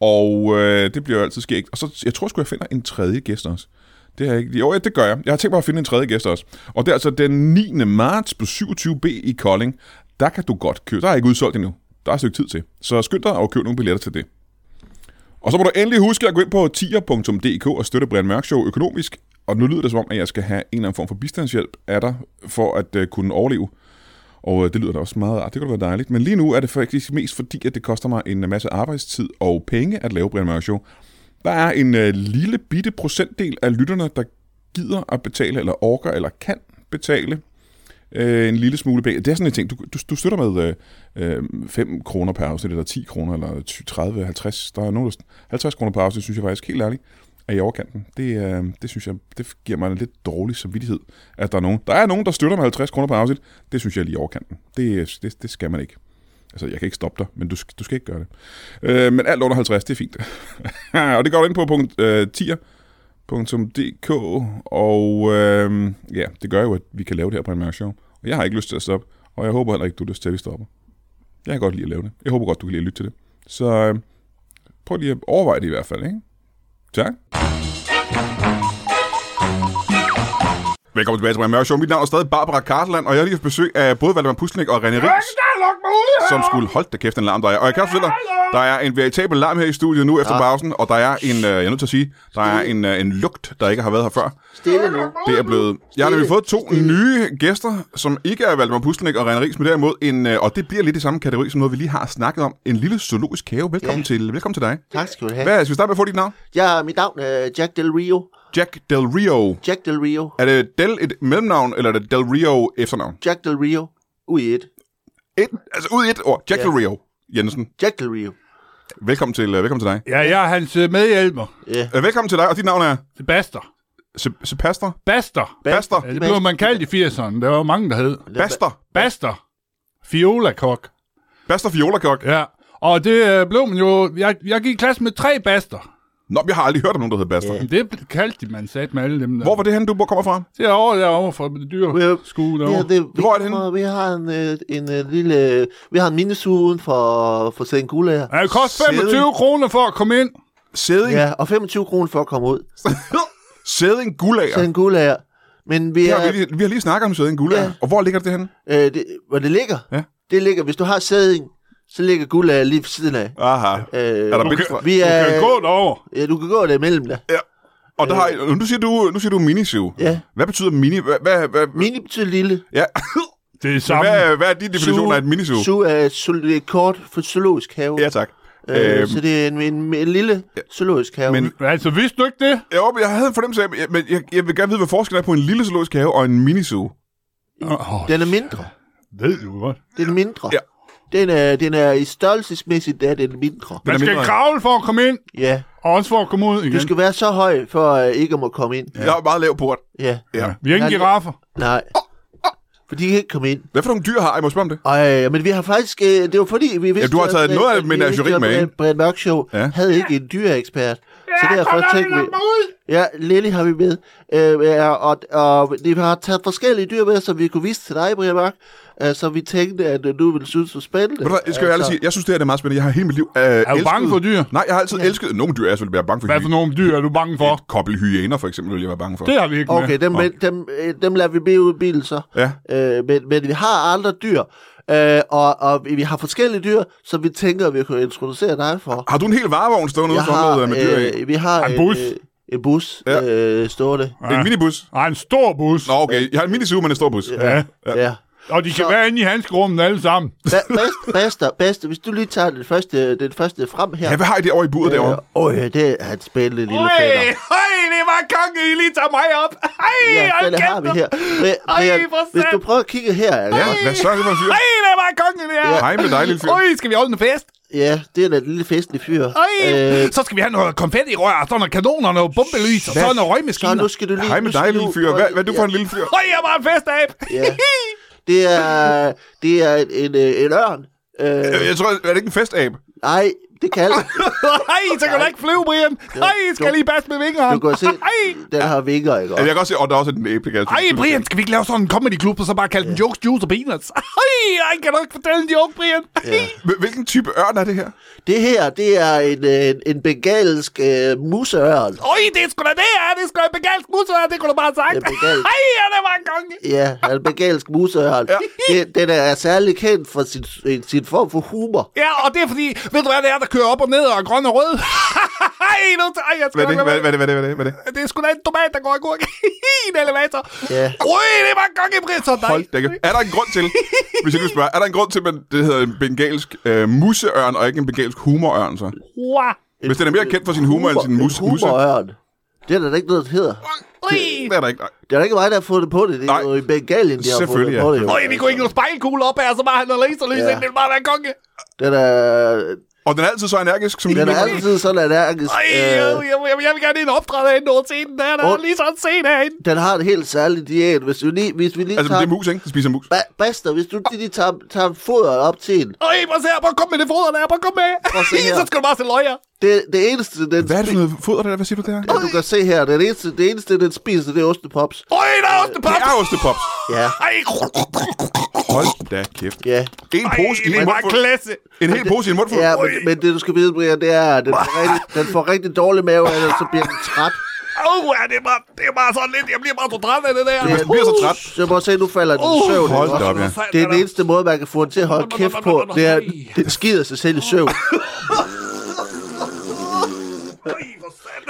[SPEAKER 1] Og øh, det bliver jo altid skægt. Og så, jeg tror sgu, jeg finder en tredje gæst også. Det har jeg ikke. Jo, ja, det gør jeg. Jeg har tænkt mig at finde en tredje gæst også. Og det er altså den 9. marts på 27B i Kolding. Der kan du godt købe. Der er ikke udsolgt endnu. Der er et stykke tid til. Så skynd dig og køb nogle billetter til det. Og så må du endelig huske at gå ind på tier.dk og støtte Brian Mørk Show økonomisk. Og nu lyder det som om, at jeg skal have en eller anden form for bistandshjælp af dig, for at øh, kunne overleve. Og øh, det lyder da også meget rart. Det kunne da være dejligt. Men lige nu er det faktisk mest fordi, at det koster mig en masse arbejdstid og penge at lave Brian Mørk Show. Der er en øh, lille bitte procentdel af lytterne, der gider at betale, eller orker, eller kan betale øh, en lille smule penge. Det er sådan en ting, du, du, du støtter med øh, øh, 5 kroner per afsnit, eller 10 kroner, eller 20, 30, 50. Der er nogen, der, 50 kroner per afsnit, synes jeg faktisk helt ærligt er i overkanten. Det, øh, det synes jeg, det giver mig en lidt dårlig samvittighed, at der er nogen. Der er nogen, der støtter med 50 kroner per afsnit. Det synes jeg er lige i overkanten. Det, det, det skal man ikke. Altså, jeg kan ikke stoppe dig, men du, skal- du skal ikke gøre det. Øh, men alt under 50, det er fint. og det går du ind på punkt øh, 10'er www.dk, og øh, ja, det gør jo, at vi kan lave det her på en mørk show. Og jeg har ikke lyst til at stoppe, og jeg håber heller ikke, du har lyst til, at vi stopper. Jeg kan godt lide at lave det. Jeg håber godt, du kan lide at lytte til det. Så øh, prøv lige at overveje det i hvert fald, ikke? Tak. Velkommen tilbage til Brian Mørk Show. Mit navn er stadig Barbara Karteland, og jeg har lige haft besøg af både Valdemar Pusnik og René Riks
[SPEAKER 5] Snart luk mig ud
[SPEAKER 1] som
[SPEAKER 5] herovre.
[SPEAKER 1] skulle holde da kæft en larm, der er. Og jeg kan fortælle dig, der er en veritabel larm her i studiet nu efter pausen, og der er en, øh, jeg er nødt til at sige, der er en, øh, en lugt, der ikke har været her før.
[SPEAKER 3] Stille nu.
[SPEAKER 1] Det er blevet... Jeg har nemlig fået to nye gæster, som ikke er Valdemar Puslenik og René Rigs, men derimod en, øh, og det bliver lidt i samme kategori som noget, vi lige har snakket om. En lille zoologisk have. Velkommen, til, velkommen til dig.
[SPEAKER 3] Tak skal du have.
[SPEAKER 1] Hvad, skal vi starte med at få dit navn?
[SPEAKER 3] Ja, mit navn er Jack Del Rio.
[SPEAKER 1] Jack Del Rio.
[SPEAKER 3] Jack Del Rio.
[SPEAKER 1] Er det Del et mellemnavn, eller er det Del Rio efternavn?
[SPEAKER 3] Jack Del Rio. Ud i et.
[SPEAKER 1] Et, altså ud i et ord. Jack
[SPEAKER 3] Ja.
[SPEAKER 1] Del Rio Jensen.
[SPEAKER 3] Jack Del Rio.
[SPEAKER 1] Velkommen til, øh, velkommen til dig.
[SPEAKER 2] Ja, jeg er hans øh, medhjælper.
[SPEAKER 3] Ja.
[SPEAKER 1] Øh, Velkommen til dig, og dit navn er
[SPEAKER 2] Sebaster.
[SPEAKER 1] Se- Sebaster?
[SPEAKER 2] Baster.
[SPEAKER 1] Baster?
[SPEAKER 2] Ja, det blev man kaldt i 80'erne. Der var mange, der hed.
[SPEAKER 1] Baster.
[SPEAKER 2] Baster. Fiolakok.
[SPEAKER 1] Baster Fiolakok.
[SPEAKER 2] Ja. Og det øh, blev man jo... Jeg, jeg gik i klasse med tre baster.
[SPEAKER 1] Nå, jeg har aldrig hørt om nogen, der hedder Baster.
[SPEAKER 2] Det kaldte de, man sagde med alle dem der.
[SPEAKER 1] Hvor var det henne, du bor- kommer fra?
[SPEAKER 2] Det er over derovre fra dyrskue
[SPEAKER 3] Ja,
[SPEAKER 2] derovre.
[SPEAKER 3] det, vi,
[SPEAKER 1] Hvor er det henne?
[SPEAKER 3] vi har en, øh, en, øh, lille... Vi har en minisu uden for, for Sengula her.
[SPEAKER 2] Ja, det koster 25 kroner for at komme ind.
[SPEAKER 1] Sæding.
[SPEAKER 3] Ja, og 25 kroner for at komme ud.
[SPEAKER 1] Sæding Gulager.
[SPEAKER 3] Sengula her. Men vi
[SPEAKER 1] Det har
[SPEAKER 3] er...
[SPEAKER 1] vi, lige, vi har lige snakket om Sæding Gulager.
[SPEAKER 3] Ja.
[SPEAKER 1] Og hvor ligger det henne?
[SPEAKER 3] Øh, det, hvor det ligger?
[SPEAKER 1] Ja.
[SPEAKER 3] Det ligger... Hvis du har sæding, så ligger Gula lige ved siden af.
[SPEAKER 1] Aha.
[SPEAKER 3] Øh,
[SPEAKER 1] Er der
[SPEAKER 3] du
[SPEAKER 1] billeder
[SPEAKER 3] kan-
[SPEAKER 1] fra-
[SPEAKER 3] Vi
[SPEAKER 2] Du
[SPEAKER 3] er,
[SPEAKER 2] kan gå derovre.
[SPEAKER 3] Ja, du kan gå der imellem der.
[SPEAKER 1] Og der har,
[SPEAKER 2] Øh.
[SPEAKER 1] nu siger du, nu siger du minisev.
[SPEAKER 3] Ja.
[SPEAKER 1] Hvad betyder mini? Hvad, hvad, hvad,
[SPEAKER 3] Mini betyder lille.
[SPEAKER 1] ja.
[SPEAKER 2] Det er samme.
[SPEAKER 1] hvad, hvad er din definition af et minisev?
[SPEAKER 3] Zoo er zo- det er kort for zoologisk have.
[SPEAKER 1] Ja, tak.
[SPEAKER 3] øh,
[SPEAKER 1] Øhm,
[SPEAKER 3] så det er en, en, en lille zoologisk have.
[SPEAKER 1] Men-
[SPEAKER 2] Altså, vidste du ikke det?
[SPEAKER 1] Jo, men jeg havde en fornemmelse af, men jeg, jeg vil gerne vide, hvad forskellen er på en lille zoologisk have og en minisev.
[SPEAKER 2] Åh,
[SPEAKER 3] den er mindre.
[SPEAKER 2] ved du godt.
[SPEAKER 3] Den er mindre.
[SPEAKER 1] Ja.
[SPEAKER 3] Den er, den er i størrelsesmæssigt, der er den
[SPEAKER 1] Den
[SPEAKER 3] mindre.
[SPEAKER 1] er
[SPEAKER 2] Man skal
[SPEAKER 1] mindre.
[SPEAKER 2] kravle for at komme ind,
[SPEAKER 3] Ja.
[SPEAKER 2] og også for at komme ud
[SPEAKER 3] Du
[SPEAKER 2] igen.
[SPEAKER 3] skal være så høj, for øh, ikke at må komme ind.
[SPEAKER 1] Ja. Jeg er meget lav port.
[SPEAKER 3] Ja.
[SPEAKER 1] Ja.
[SPEAKER 2] Vi er ikke
[SPEAKER 3] Ja,
[SPEAKER 2] giraffer.
[SPEAKER 3] Nej. For de kan ikke komme ind.
[SPEAKER 1] Hvad for nogle dyr har jeg? Må jeg spørge om det?
[SPEAKER 3] Ej, men vi har faktisk... Øh, det var fordi, vi vidste...
[SPEAKER 1] Ja, du har taget
[SPEAKER 3] at-
[SPEAKER 1] noget af
[SPEAKER 3] at- at-
[SPEAKER 1] menageri
[SPEAKER 3] vi vidste,
[SPEAKER 1] med,
[SPEAKER 3] at
[SPEAKER 1] ikke?
[SPEAKER 3] Brian Mørk Show
[SPEAKER 1] Ja.
[SPEAKER 3] ja. havde ikke en dyreekspert. Så
[SPEAKER 5] Ja,
[SPEAKER 3] derfor
[SPEAKER 5] kom nu,
[SPEAKER 3] tænkte vi...
[SPEAKER 5] luk mig ud.
[SPEAKER 3] Ja, Lily har vi med. Øh, ja, og, og vi har taget forskellige dyr med, som vi kunne vise til dig, Brian Mørk. Øh, så vi tænkte, at øh, du ville synes var spændende. Altså,
[SPEAKER 1] Ved du hvad, jeg skal jeg ærligt sige, jeg synes, det her det er meget spændende. Jeg har hele mit liv øh, Er
[SPEAKER 2] du bange for dyr?
[SPEAKER 1] Nej, jeg har altid elsket... Nogle dyr er jeg selvfølgelig bare bange for.
[SPEAKER 2] Hvad for nogle dyr er du bange for?
[SPEAKER 1] Et kobbel hyæner, for eksempel, vil jeg være bange for.
[SPEAKER 2] Det har vi ikke med.
[SPEAKER 3] Okay, dem, oh. dem, øh, dem lader vi med ud i bilen så.
[SPEAKER 1] Ja.
[SPEAKER 3] Øh, men, men vi har andre dyr, øh, og, og vi har forskellige dyr, som vi tænker, at vi kunne introducere dig for.
[SPEAKER 1] Har du en hel varevogn stående ude
[SPEAKER 3] Jeg
[SPEAKER 1] for med, med dyr i?
[SPEAKER 3] øh, vi har
[SPEAKER 2] En bus.
[SPEAKER 3] øh, en bus
[SPEAKER 1] Ja.
[SPEAKER 3] ja. øh, stående.
[SPEAKER 1] En minibus?
[SPEAKER 2] Ej, en stor bus.
[SPEAKER 1] Nå, okay. Jeg har en minisu, men en stor bus.
[SPEAKER 2] Ja.
[SPEAKER 3] Ja. ja.
[SPEAKER 2] Og de kan være inde i handskerummet alle sammen.
[SPEAKER 3] Ba- Basta, basta, basta. Hvis du lige tager den første, den første frem her.
[SPEAKER 1] Ja, hvad har I derovre i buret derovre?
[SPEAKER 3] Øh, Åh, øh, det er et spændende lille
[SPEAKER 5] Hej,
[SPEAKER 3] fætter.
[SPEAKER 5] hej, det var konge, I lige tager mig op. Hej,
[SPEAKER 3] Ja,
[SPEAKER 5] hold
[SPEAKER 3] den har
[SPEAKER 5] kæft.
[SPEAKER 3] vi her. Bri-
[SPEAKER 5] Ej,
[SPEAKER 3] Brian,
[SPEAKER 5] hvor
[SPEAKER 3] hvis du
[SPEAKER 5] sandt.
[SPEAKER 3] prøver at kigge her, altså.
[SPEAKER 1] Ja, hvad så er det for en fyr?
[SPEAKER 5] Hej, det var konge, det her.
[SPEAKER 1] Hej med dig, lille fyr.
[SPEAKER 5] Øj, skal vi holde en fest?
[SPEAKER 3] Ja, det er da et lille festlig fyr.
[SPEAKER 2] Ej, øh, så skal vi have noget konfetti rør, så noget kanoner, noget bombelys, og så noget
[SPEAKER 3] så
[SPEAKER 2] røgmaskiner.
[SPEAKER 3] nu skal du lige...
[SPEAKER 1] Hej med
[SPEAKER 3] nu skal
[SPEAKER 1] dig,
[SPEAKER 3] du-
[SPEAKER 1] lille fyr. Hvad, hvad er du for en lille fyr?
[SPEAKER 2] Høj, jeg var en festab!
[SPEAKER 3] Ja. Det er, det er en, en, øh, en ørn. Øh,
[SPEAKER 1] Øh, Jeg tror, er det ikke en festab?
[SPEAKER 3] nej, det kan
[SPEAKER 2] Hej, så kan du ikke flyve, Brian. Hej, skal jeg lige basse med vingerne?
[SPEAKER 3] Du kan se,
[SPEAKER 2] Hej.
[SPEAKER 3] den har vinger, ikke?
[SPEAKER 1] Altså, jeg kan også se, og der er også en æble, kan jeg
[SPEAKER 2] Ej, Brian, skal vi ikke lave sådan en comedy club, og så bare kalde den jokes, juice og peanuts? Ej, ej, kan du ikke fortælle en joke, Brian? Ja.
[SPEAKER 1] Hvil- Hvilken type ørn er det her?
[SPEAKER 3] Det her, det er en, øh, en, en bengalsk øh, museørn.
[SPEAKER 2] Oj, det er sgu da det her, det er sgu da en begalsk musør, det kunne du bare have sagt.
[SPEAKER 3] Det er begalsk.
[SPEAKER 2] Ej, ja, det var en konge.
[SPEAKER 3] Ja, han er en bengalsk museørn. Ja. Den, den er særlig kendt for sin, sin form for humor.
[SPEAKER 2] Ja, og det er fordi, ved du hvad det er, der kører op og ned og er grøn og rød? Ej, nu, ej, jeg skal
[SPEAKER 1] Hvad er det?
[SPEAKER 2] nok lade
[SPEAKER 1] Hvad,
[SPEAKER 2] være-
[SPEAKER 1] hvad, er det? hvad, er det? hvad, er det? hvad er det?
[SPEAKER 2] Det er sgu da en tomat, der går i gurk. en elevator.
[SPEAKER 3] Ja.
[SPEAKER 2] Ui, det var en konge, Brian. Så dig.
[SPEAKER 1] Hold da kæft. Er der en grund til, hvis jeg kan spørge, er der en grund til, at man- det hedder en bengalsk øh, museørn, og ikke en bengalsk humorørn, så?
[SPEAKER 2] Wow.
[SPEAKER 1] Hvis den er mere kendt for sin humor, end sin mus, musse.
[SPEAKER 3] Humorørn. Det er der da ikke noget, der hedder.
[SPEAKER 2] Ui.
[SPEAKER 1] Det er der ikke. Nej.
[SPEAKER 3] Det er da ikke mig, der har fundet på det. Det
[SPEAKER 1] Nej.
[SPEAKER 3] er jo i Bengalien, de har fundet
[SPEAKER 1] Selvfølgelig, ja.
[SPEAKER 3] på det. Jo.
[SPEAKER 2] Ui, vi kunne ikke nå spejlkugle op her, så bare han noget laserlys
[SPEAKER 3] Ja.
[SPEAKER 2] ind. Det ville bare være en konge.
[SPEAKER 3] Den er,
[SPEAKER 1] Og den er altid så energisk, som
[SPEAKER 3] den
[SPEAKER 1] lige
[SPEAKER 3] er
[SPEAKER 1] nu.
[SPEAKER 3] altid sådan energisk.
[SPEAKER 2] Ej,
[SPEAKER 3] Øh,
[SPEAKER 2] jeg, jeg, jeg, vil gerne ind og optræde herinde over scenen. Der, der er
[SPEAKER 3] Und-
[SPEAKER 2] lige sådan en scene herinde.
[SPEAKER 3] den har en helt særlig diæt. Hvis, vi lige, hvis vi lige
[SPEAKER 1] Altså, men
[SPEAKER 3] tager...
[SPEAKER 1] det er mus, ikke? Det spiser mus.
[SPEAKER 3] Ba- Basta, hvis du lige tager, tager fodret op til en.
[SPEAKER 2] Ej, prøv at se her. Prøv at komme med det foder der. Prøv at komme med.
[SPEAKER 3] Prøv at se her.
[SPEAKER 2] så skal du bare se løjer.
[SPEAKER 3] Det, det eneste, den
[SPEAKER 1] Hvad er det for noget foder, det der? Hvad siger du der?
[SPEAKER 3] Ja, du kan se her, den eneste, det eneste, den spiser, det er ostepops.
[SPEAKER 2] Oj, der er også
[SPEAKER 1] Det er ostepops.
[SPEAKER 3] Ja,
[SPEAKER 2] Ej,
[SPEAKER 1] Hold da kæft.
[SPEAKER 3] ja.
[SPEAKER 1] En pose i
[SPEAKER 2] det
[SPEAKER 1] en
[SPEAKER 2] var
[SPEAKER 1] mundfuld.
[SPEAKER 2] klasse.
[SPEAKER 1] En hel pose i en mundfuld.
[SPEAKER 3] ja men, men det, du skal vide, Brian, det er, at den får rigtig, den får rigtig dårlig mave, af det, og så bliver den træt.
[SPEAKER 2] Åh, oh, det, er bare, det er bare sådan lidt. Jeg bliver bare så træt af det der.
[SPEAKER 1] Hvis den bliver så træt. Uh,
[SPEAKER 3] Så Uh, må se, nu falder den i søvn.
[SPEAKER 1] Hold
[SPEAKER 3] ikke
[SPEAKER 1] da
[SPEAKER 3] også?
[SPEAKER 1] op, ja.
[SPEAKER 3] Det er den eneste måde, man kan få den til at holde kæft på. Det er, den skider sig selv i søvn.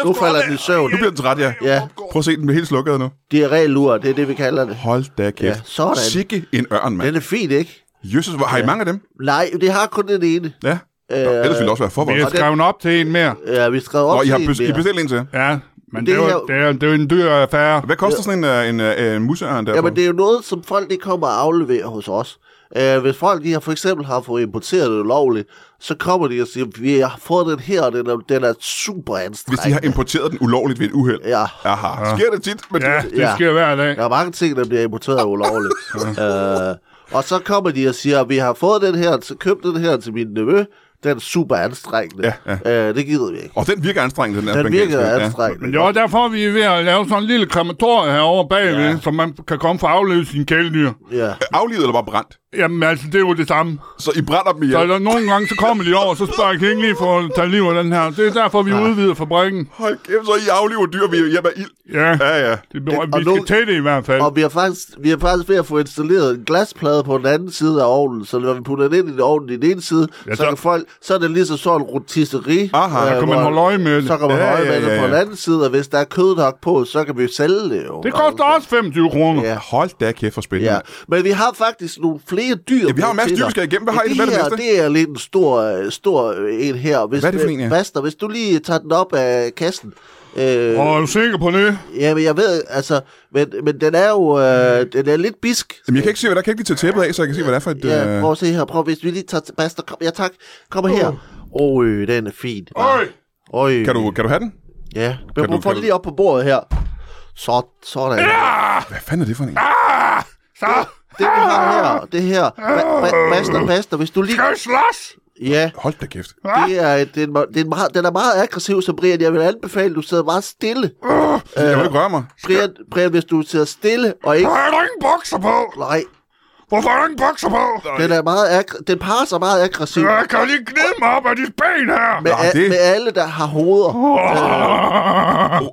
[SPEAKER 3] Nu falder den i søvn.
[SPEAKER 1] Nu bliver den træt, ja.
[SPEAKER 3] Ja,
[SPEAKER 1] Prøv at se, den bliver helt slukket nu.
[SPEAKER 3] diarrélur, det er det, vi kalder det.
[SPEAKER 1] Hold da kæft.
[SPEAKER 3] Ja, sådan.
[SPEAKER 1] Sikke en ørn, mand.
[SPEAKER 3] Den er fin, ikke?
[SPEAKER 1] Jesus, hvor- har I mange af dem?
[SPEAKER 3] Nej, det har kun den ene.
[SPEAKER 1] Ja.
[SPEAKER 3] Øh,
[SPEAKER 1] Nå, ellers ville det også være
[SPEAKER 2] Vi
[SPEAKER 1] forberedt.
[SPEAKER 2] har skrevet op til en mere.
[SPEAKER 3] Ja, vi skrev op
[SPEAKER 1] Og I
[SPEAKER 3] til
[SPEAKER 1] har
[SPEAKER 3] en
[SPEAKER 1] bes- I
[SPEAKER 3] mere.
[SPEAKER 1] bestilt en til.
[SPEAKER 2] Ja,
[SPEAKER 3] Det
[SPEAKER 2] men det, er
[SPEAKER 3] her-
[SPEAKER 2] jo, det, er, det er jo en dyr affære.
[SPEAKER 1] Hvad koster sådan en, øh, en, øh, en museørn der?
[SPEAKER 3] Jamen, det er jo noget, som folk ikke kommer og afleverer hos os. Øh, hvis folk de har for eksempel har fået importeret det ulovligt, så kommer de og siger, vi har fået den her, og den er, den er super
[SPEAKER 1] Hvis de
[SPEAKER 3] anstrengt.
[SPEAKER 1] har importeret den ulovligt ved et uheld.
[SPEAKER 3] Ja.
[SPEAKER 1] Aha. Sker det tit? Men
[SPEAKER 2] Ja, det
[SPEAKER 3] Ja.
[SPEAKER 2] sker hver dag.
[SPEAKER 3] Der er mange ting, der bliver importeret ulovligt. øh, og så kommer de og siger, vi har fået den her, så køb den her til min nevø, den er super anstrengende.
[SPEAKER 1] Ja,
[SPEAKER 3] Øh, det gider vi ikke.
[SPEAKER 1] Og den virker anstrengt, den,
[SPEAKER 3] Den virker
[SPEAKER 2] Men
[SPEAKER 3] anstrengende.
[SPEAKER 2] det var derfor, vi er ved at lave sådan en lille krematorie herovre bagved, ja. så man kan komme for at afløse sine kæledyr.
[SPEAKER 3] Ja.
[SPEAKER 1] Aflivet eller bare brændt?
[SPEAKER 2] Jamen altså, det er jo det samme.
[SPEAKER 1] Så I brænder dem
[SPEAKER 2] Så
[SPEAKER 1] ihjel?
[SPEAKER 2] der, nogle gange, så kommer de over, så spørger jeg, kan I ikke lige for at tage liv af den her. Det er derfor, vi udvider fabrikken.
[SPEAKER 1] Hold kæft, så I afliver dyr ved hjælp af ild.
[SPEAKER 2] Ja,
[SPEAKER 1] Ja, ja.
[SPEAKER 2] det beror,
[SPEAKER 3] og
[SPEAKER 2] vi
[SPEAKER 3] nogle-
[SPEAKER 2] skal til det i hvert fald.
[SPEAKER 3] Og vi er, faktisk, vi er faktisk ved at få installeret en glasplade på den anden side af ovnen, så når vi putter den ind i ovnen i den ene side, ja,
[SPEAKER 2] Ja,
[SPEAKER 3] så,
[SPEAKER 2] så-
[SPEAKER 3] kan folk, så er det ligesom sådan en rotisserie. øh,
[SPEAKER 1] Aha, der kan
[SPEAKER 2] man
[SPEAKER 3] hvor-
[SPEAKER 2] holde øje med det.
[SPEAKER 3] Så kan man
[SPEAKER 1] Ja,
[SPEAKER 3] holde øje
[SPEAKER 1] ja,
[SPEAKER 3] med det
[SPEAKER 1] ja,
[SPEAKER 3] på
[SPEAKER 1] ja.
[SPEAKER 3] den anden side, og hvis der er kød nok på, så kan vi jo sælge det jo.
[SPEAKER 2] Det koster også 25 kroner.
[SPEAKER 3] Ja.
[SPEAKER 2] Ja.
[SPEAKER 1] Hold da kæft for spændende.
[SPEAKER 3] Ja, men vi har faktisk nogle flere dyr.
[SPEAKER 1] Mm. Ja, vi har en masse dyr, vi skal igennem. Hvad har I
[SPEAKER 3] det
[SPEAKER 1] med det
[SPEAKER 3] her,
[SPEAKER 1] næste?
[SPEAKER 3] det er lidt en stor, øh, stor øh, en her. Hvis,
[SPEAKER 1] Hvad er det for en, ja?
[SPEAKER 3] Basta, hvis du lige tager den op af kassen. Øh,
[SPEAKER 2] Og er du sikker på det?
[SPEAKER 3] Jamen, jeg ved, altså, men, men den er jo, øh, den er lidt bisk,
[SPEAKER 1] Mm. Jamen, jeg kan ikke se, hvad der kan jeg ikke lige tage tæppet af, så jeg kan se, hvad det er for et...
[SPEAKER 3] Ja,
[SPEAKER 1] øh,
[SPEAKER 3] prøv at se her. Prøv, hvis vi lige tager til Basta. Kom, ja, tak. Kom her. Åh, øh, den er fin.
[SPEAKER 2] Øj!
[SPEAKER 3] Øj.
[SPEAKER 1] Kan du, kan du have den?
[SPEAKER 3] Ja. Men
[SPEAKER 1] du-
[SPEAKER 3] prøv at
[SPEAKER 1] kan
[SPEAKER 3] få den
[SPEAKER 1] du-
[SPEAKER 3] lige op på bordet her. Så, sådan. Ja!
[SPEAKER 1] Hvad fanden er det for en?
[SPEAKER 2] Ah, Så,
[SPEAKER 3] Det, vi har her, det her. Ba- ba- Basta, Basta, hvis du lige...
[SPEAKER 2] kan vi slås?
[SPEAKER 3] Ja,
[SPEAKER 1] Hold da kæft.
[SPEAKER 3] det er, det er, en, det er en meget, den er meget aggressiv, så Brian, jeg vil anbefale, at du sidder meget stille.
[SPEAKER 1] Jeg vil ikke røre mig.
[SPEAKER 3] Brian, Brian, hvis du sidder stille og ikke...
[SPEAKER 2] Hvorfor er der ingen bukser på?
[SPEAKER 3] Nej,
[SPEAKER 2] Hvorfor er der ingen bukser på?
[SPEAKER 3] den er meget aggr- den parer sig meget aggressivt
[SPEAKER 2] Jeg kan lige gnide mig op af dit ben her.
[SPEAKER 3] med,
[SPEAKER 1] nej,
[SPEAKER 3] a-
[SPEAKER 1] det-
[SPEAKER 3] med alle, der har hoveder.
[SPEAKER 1] Oh, ah, oh,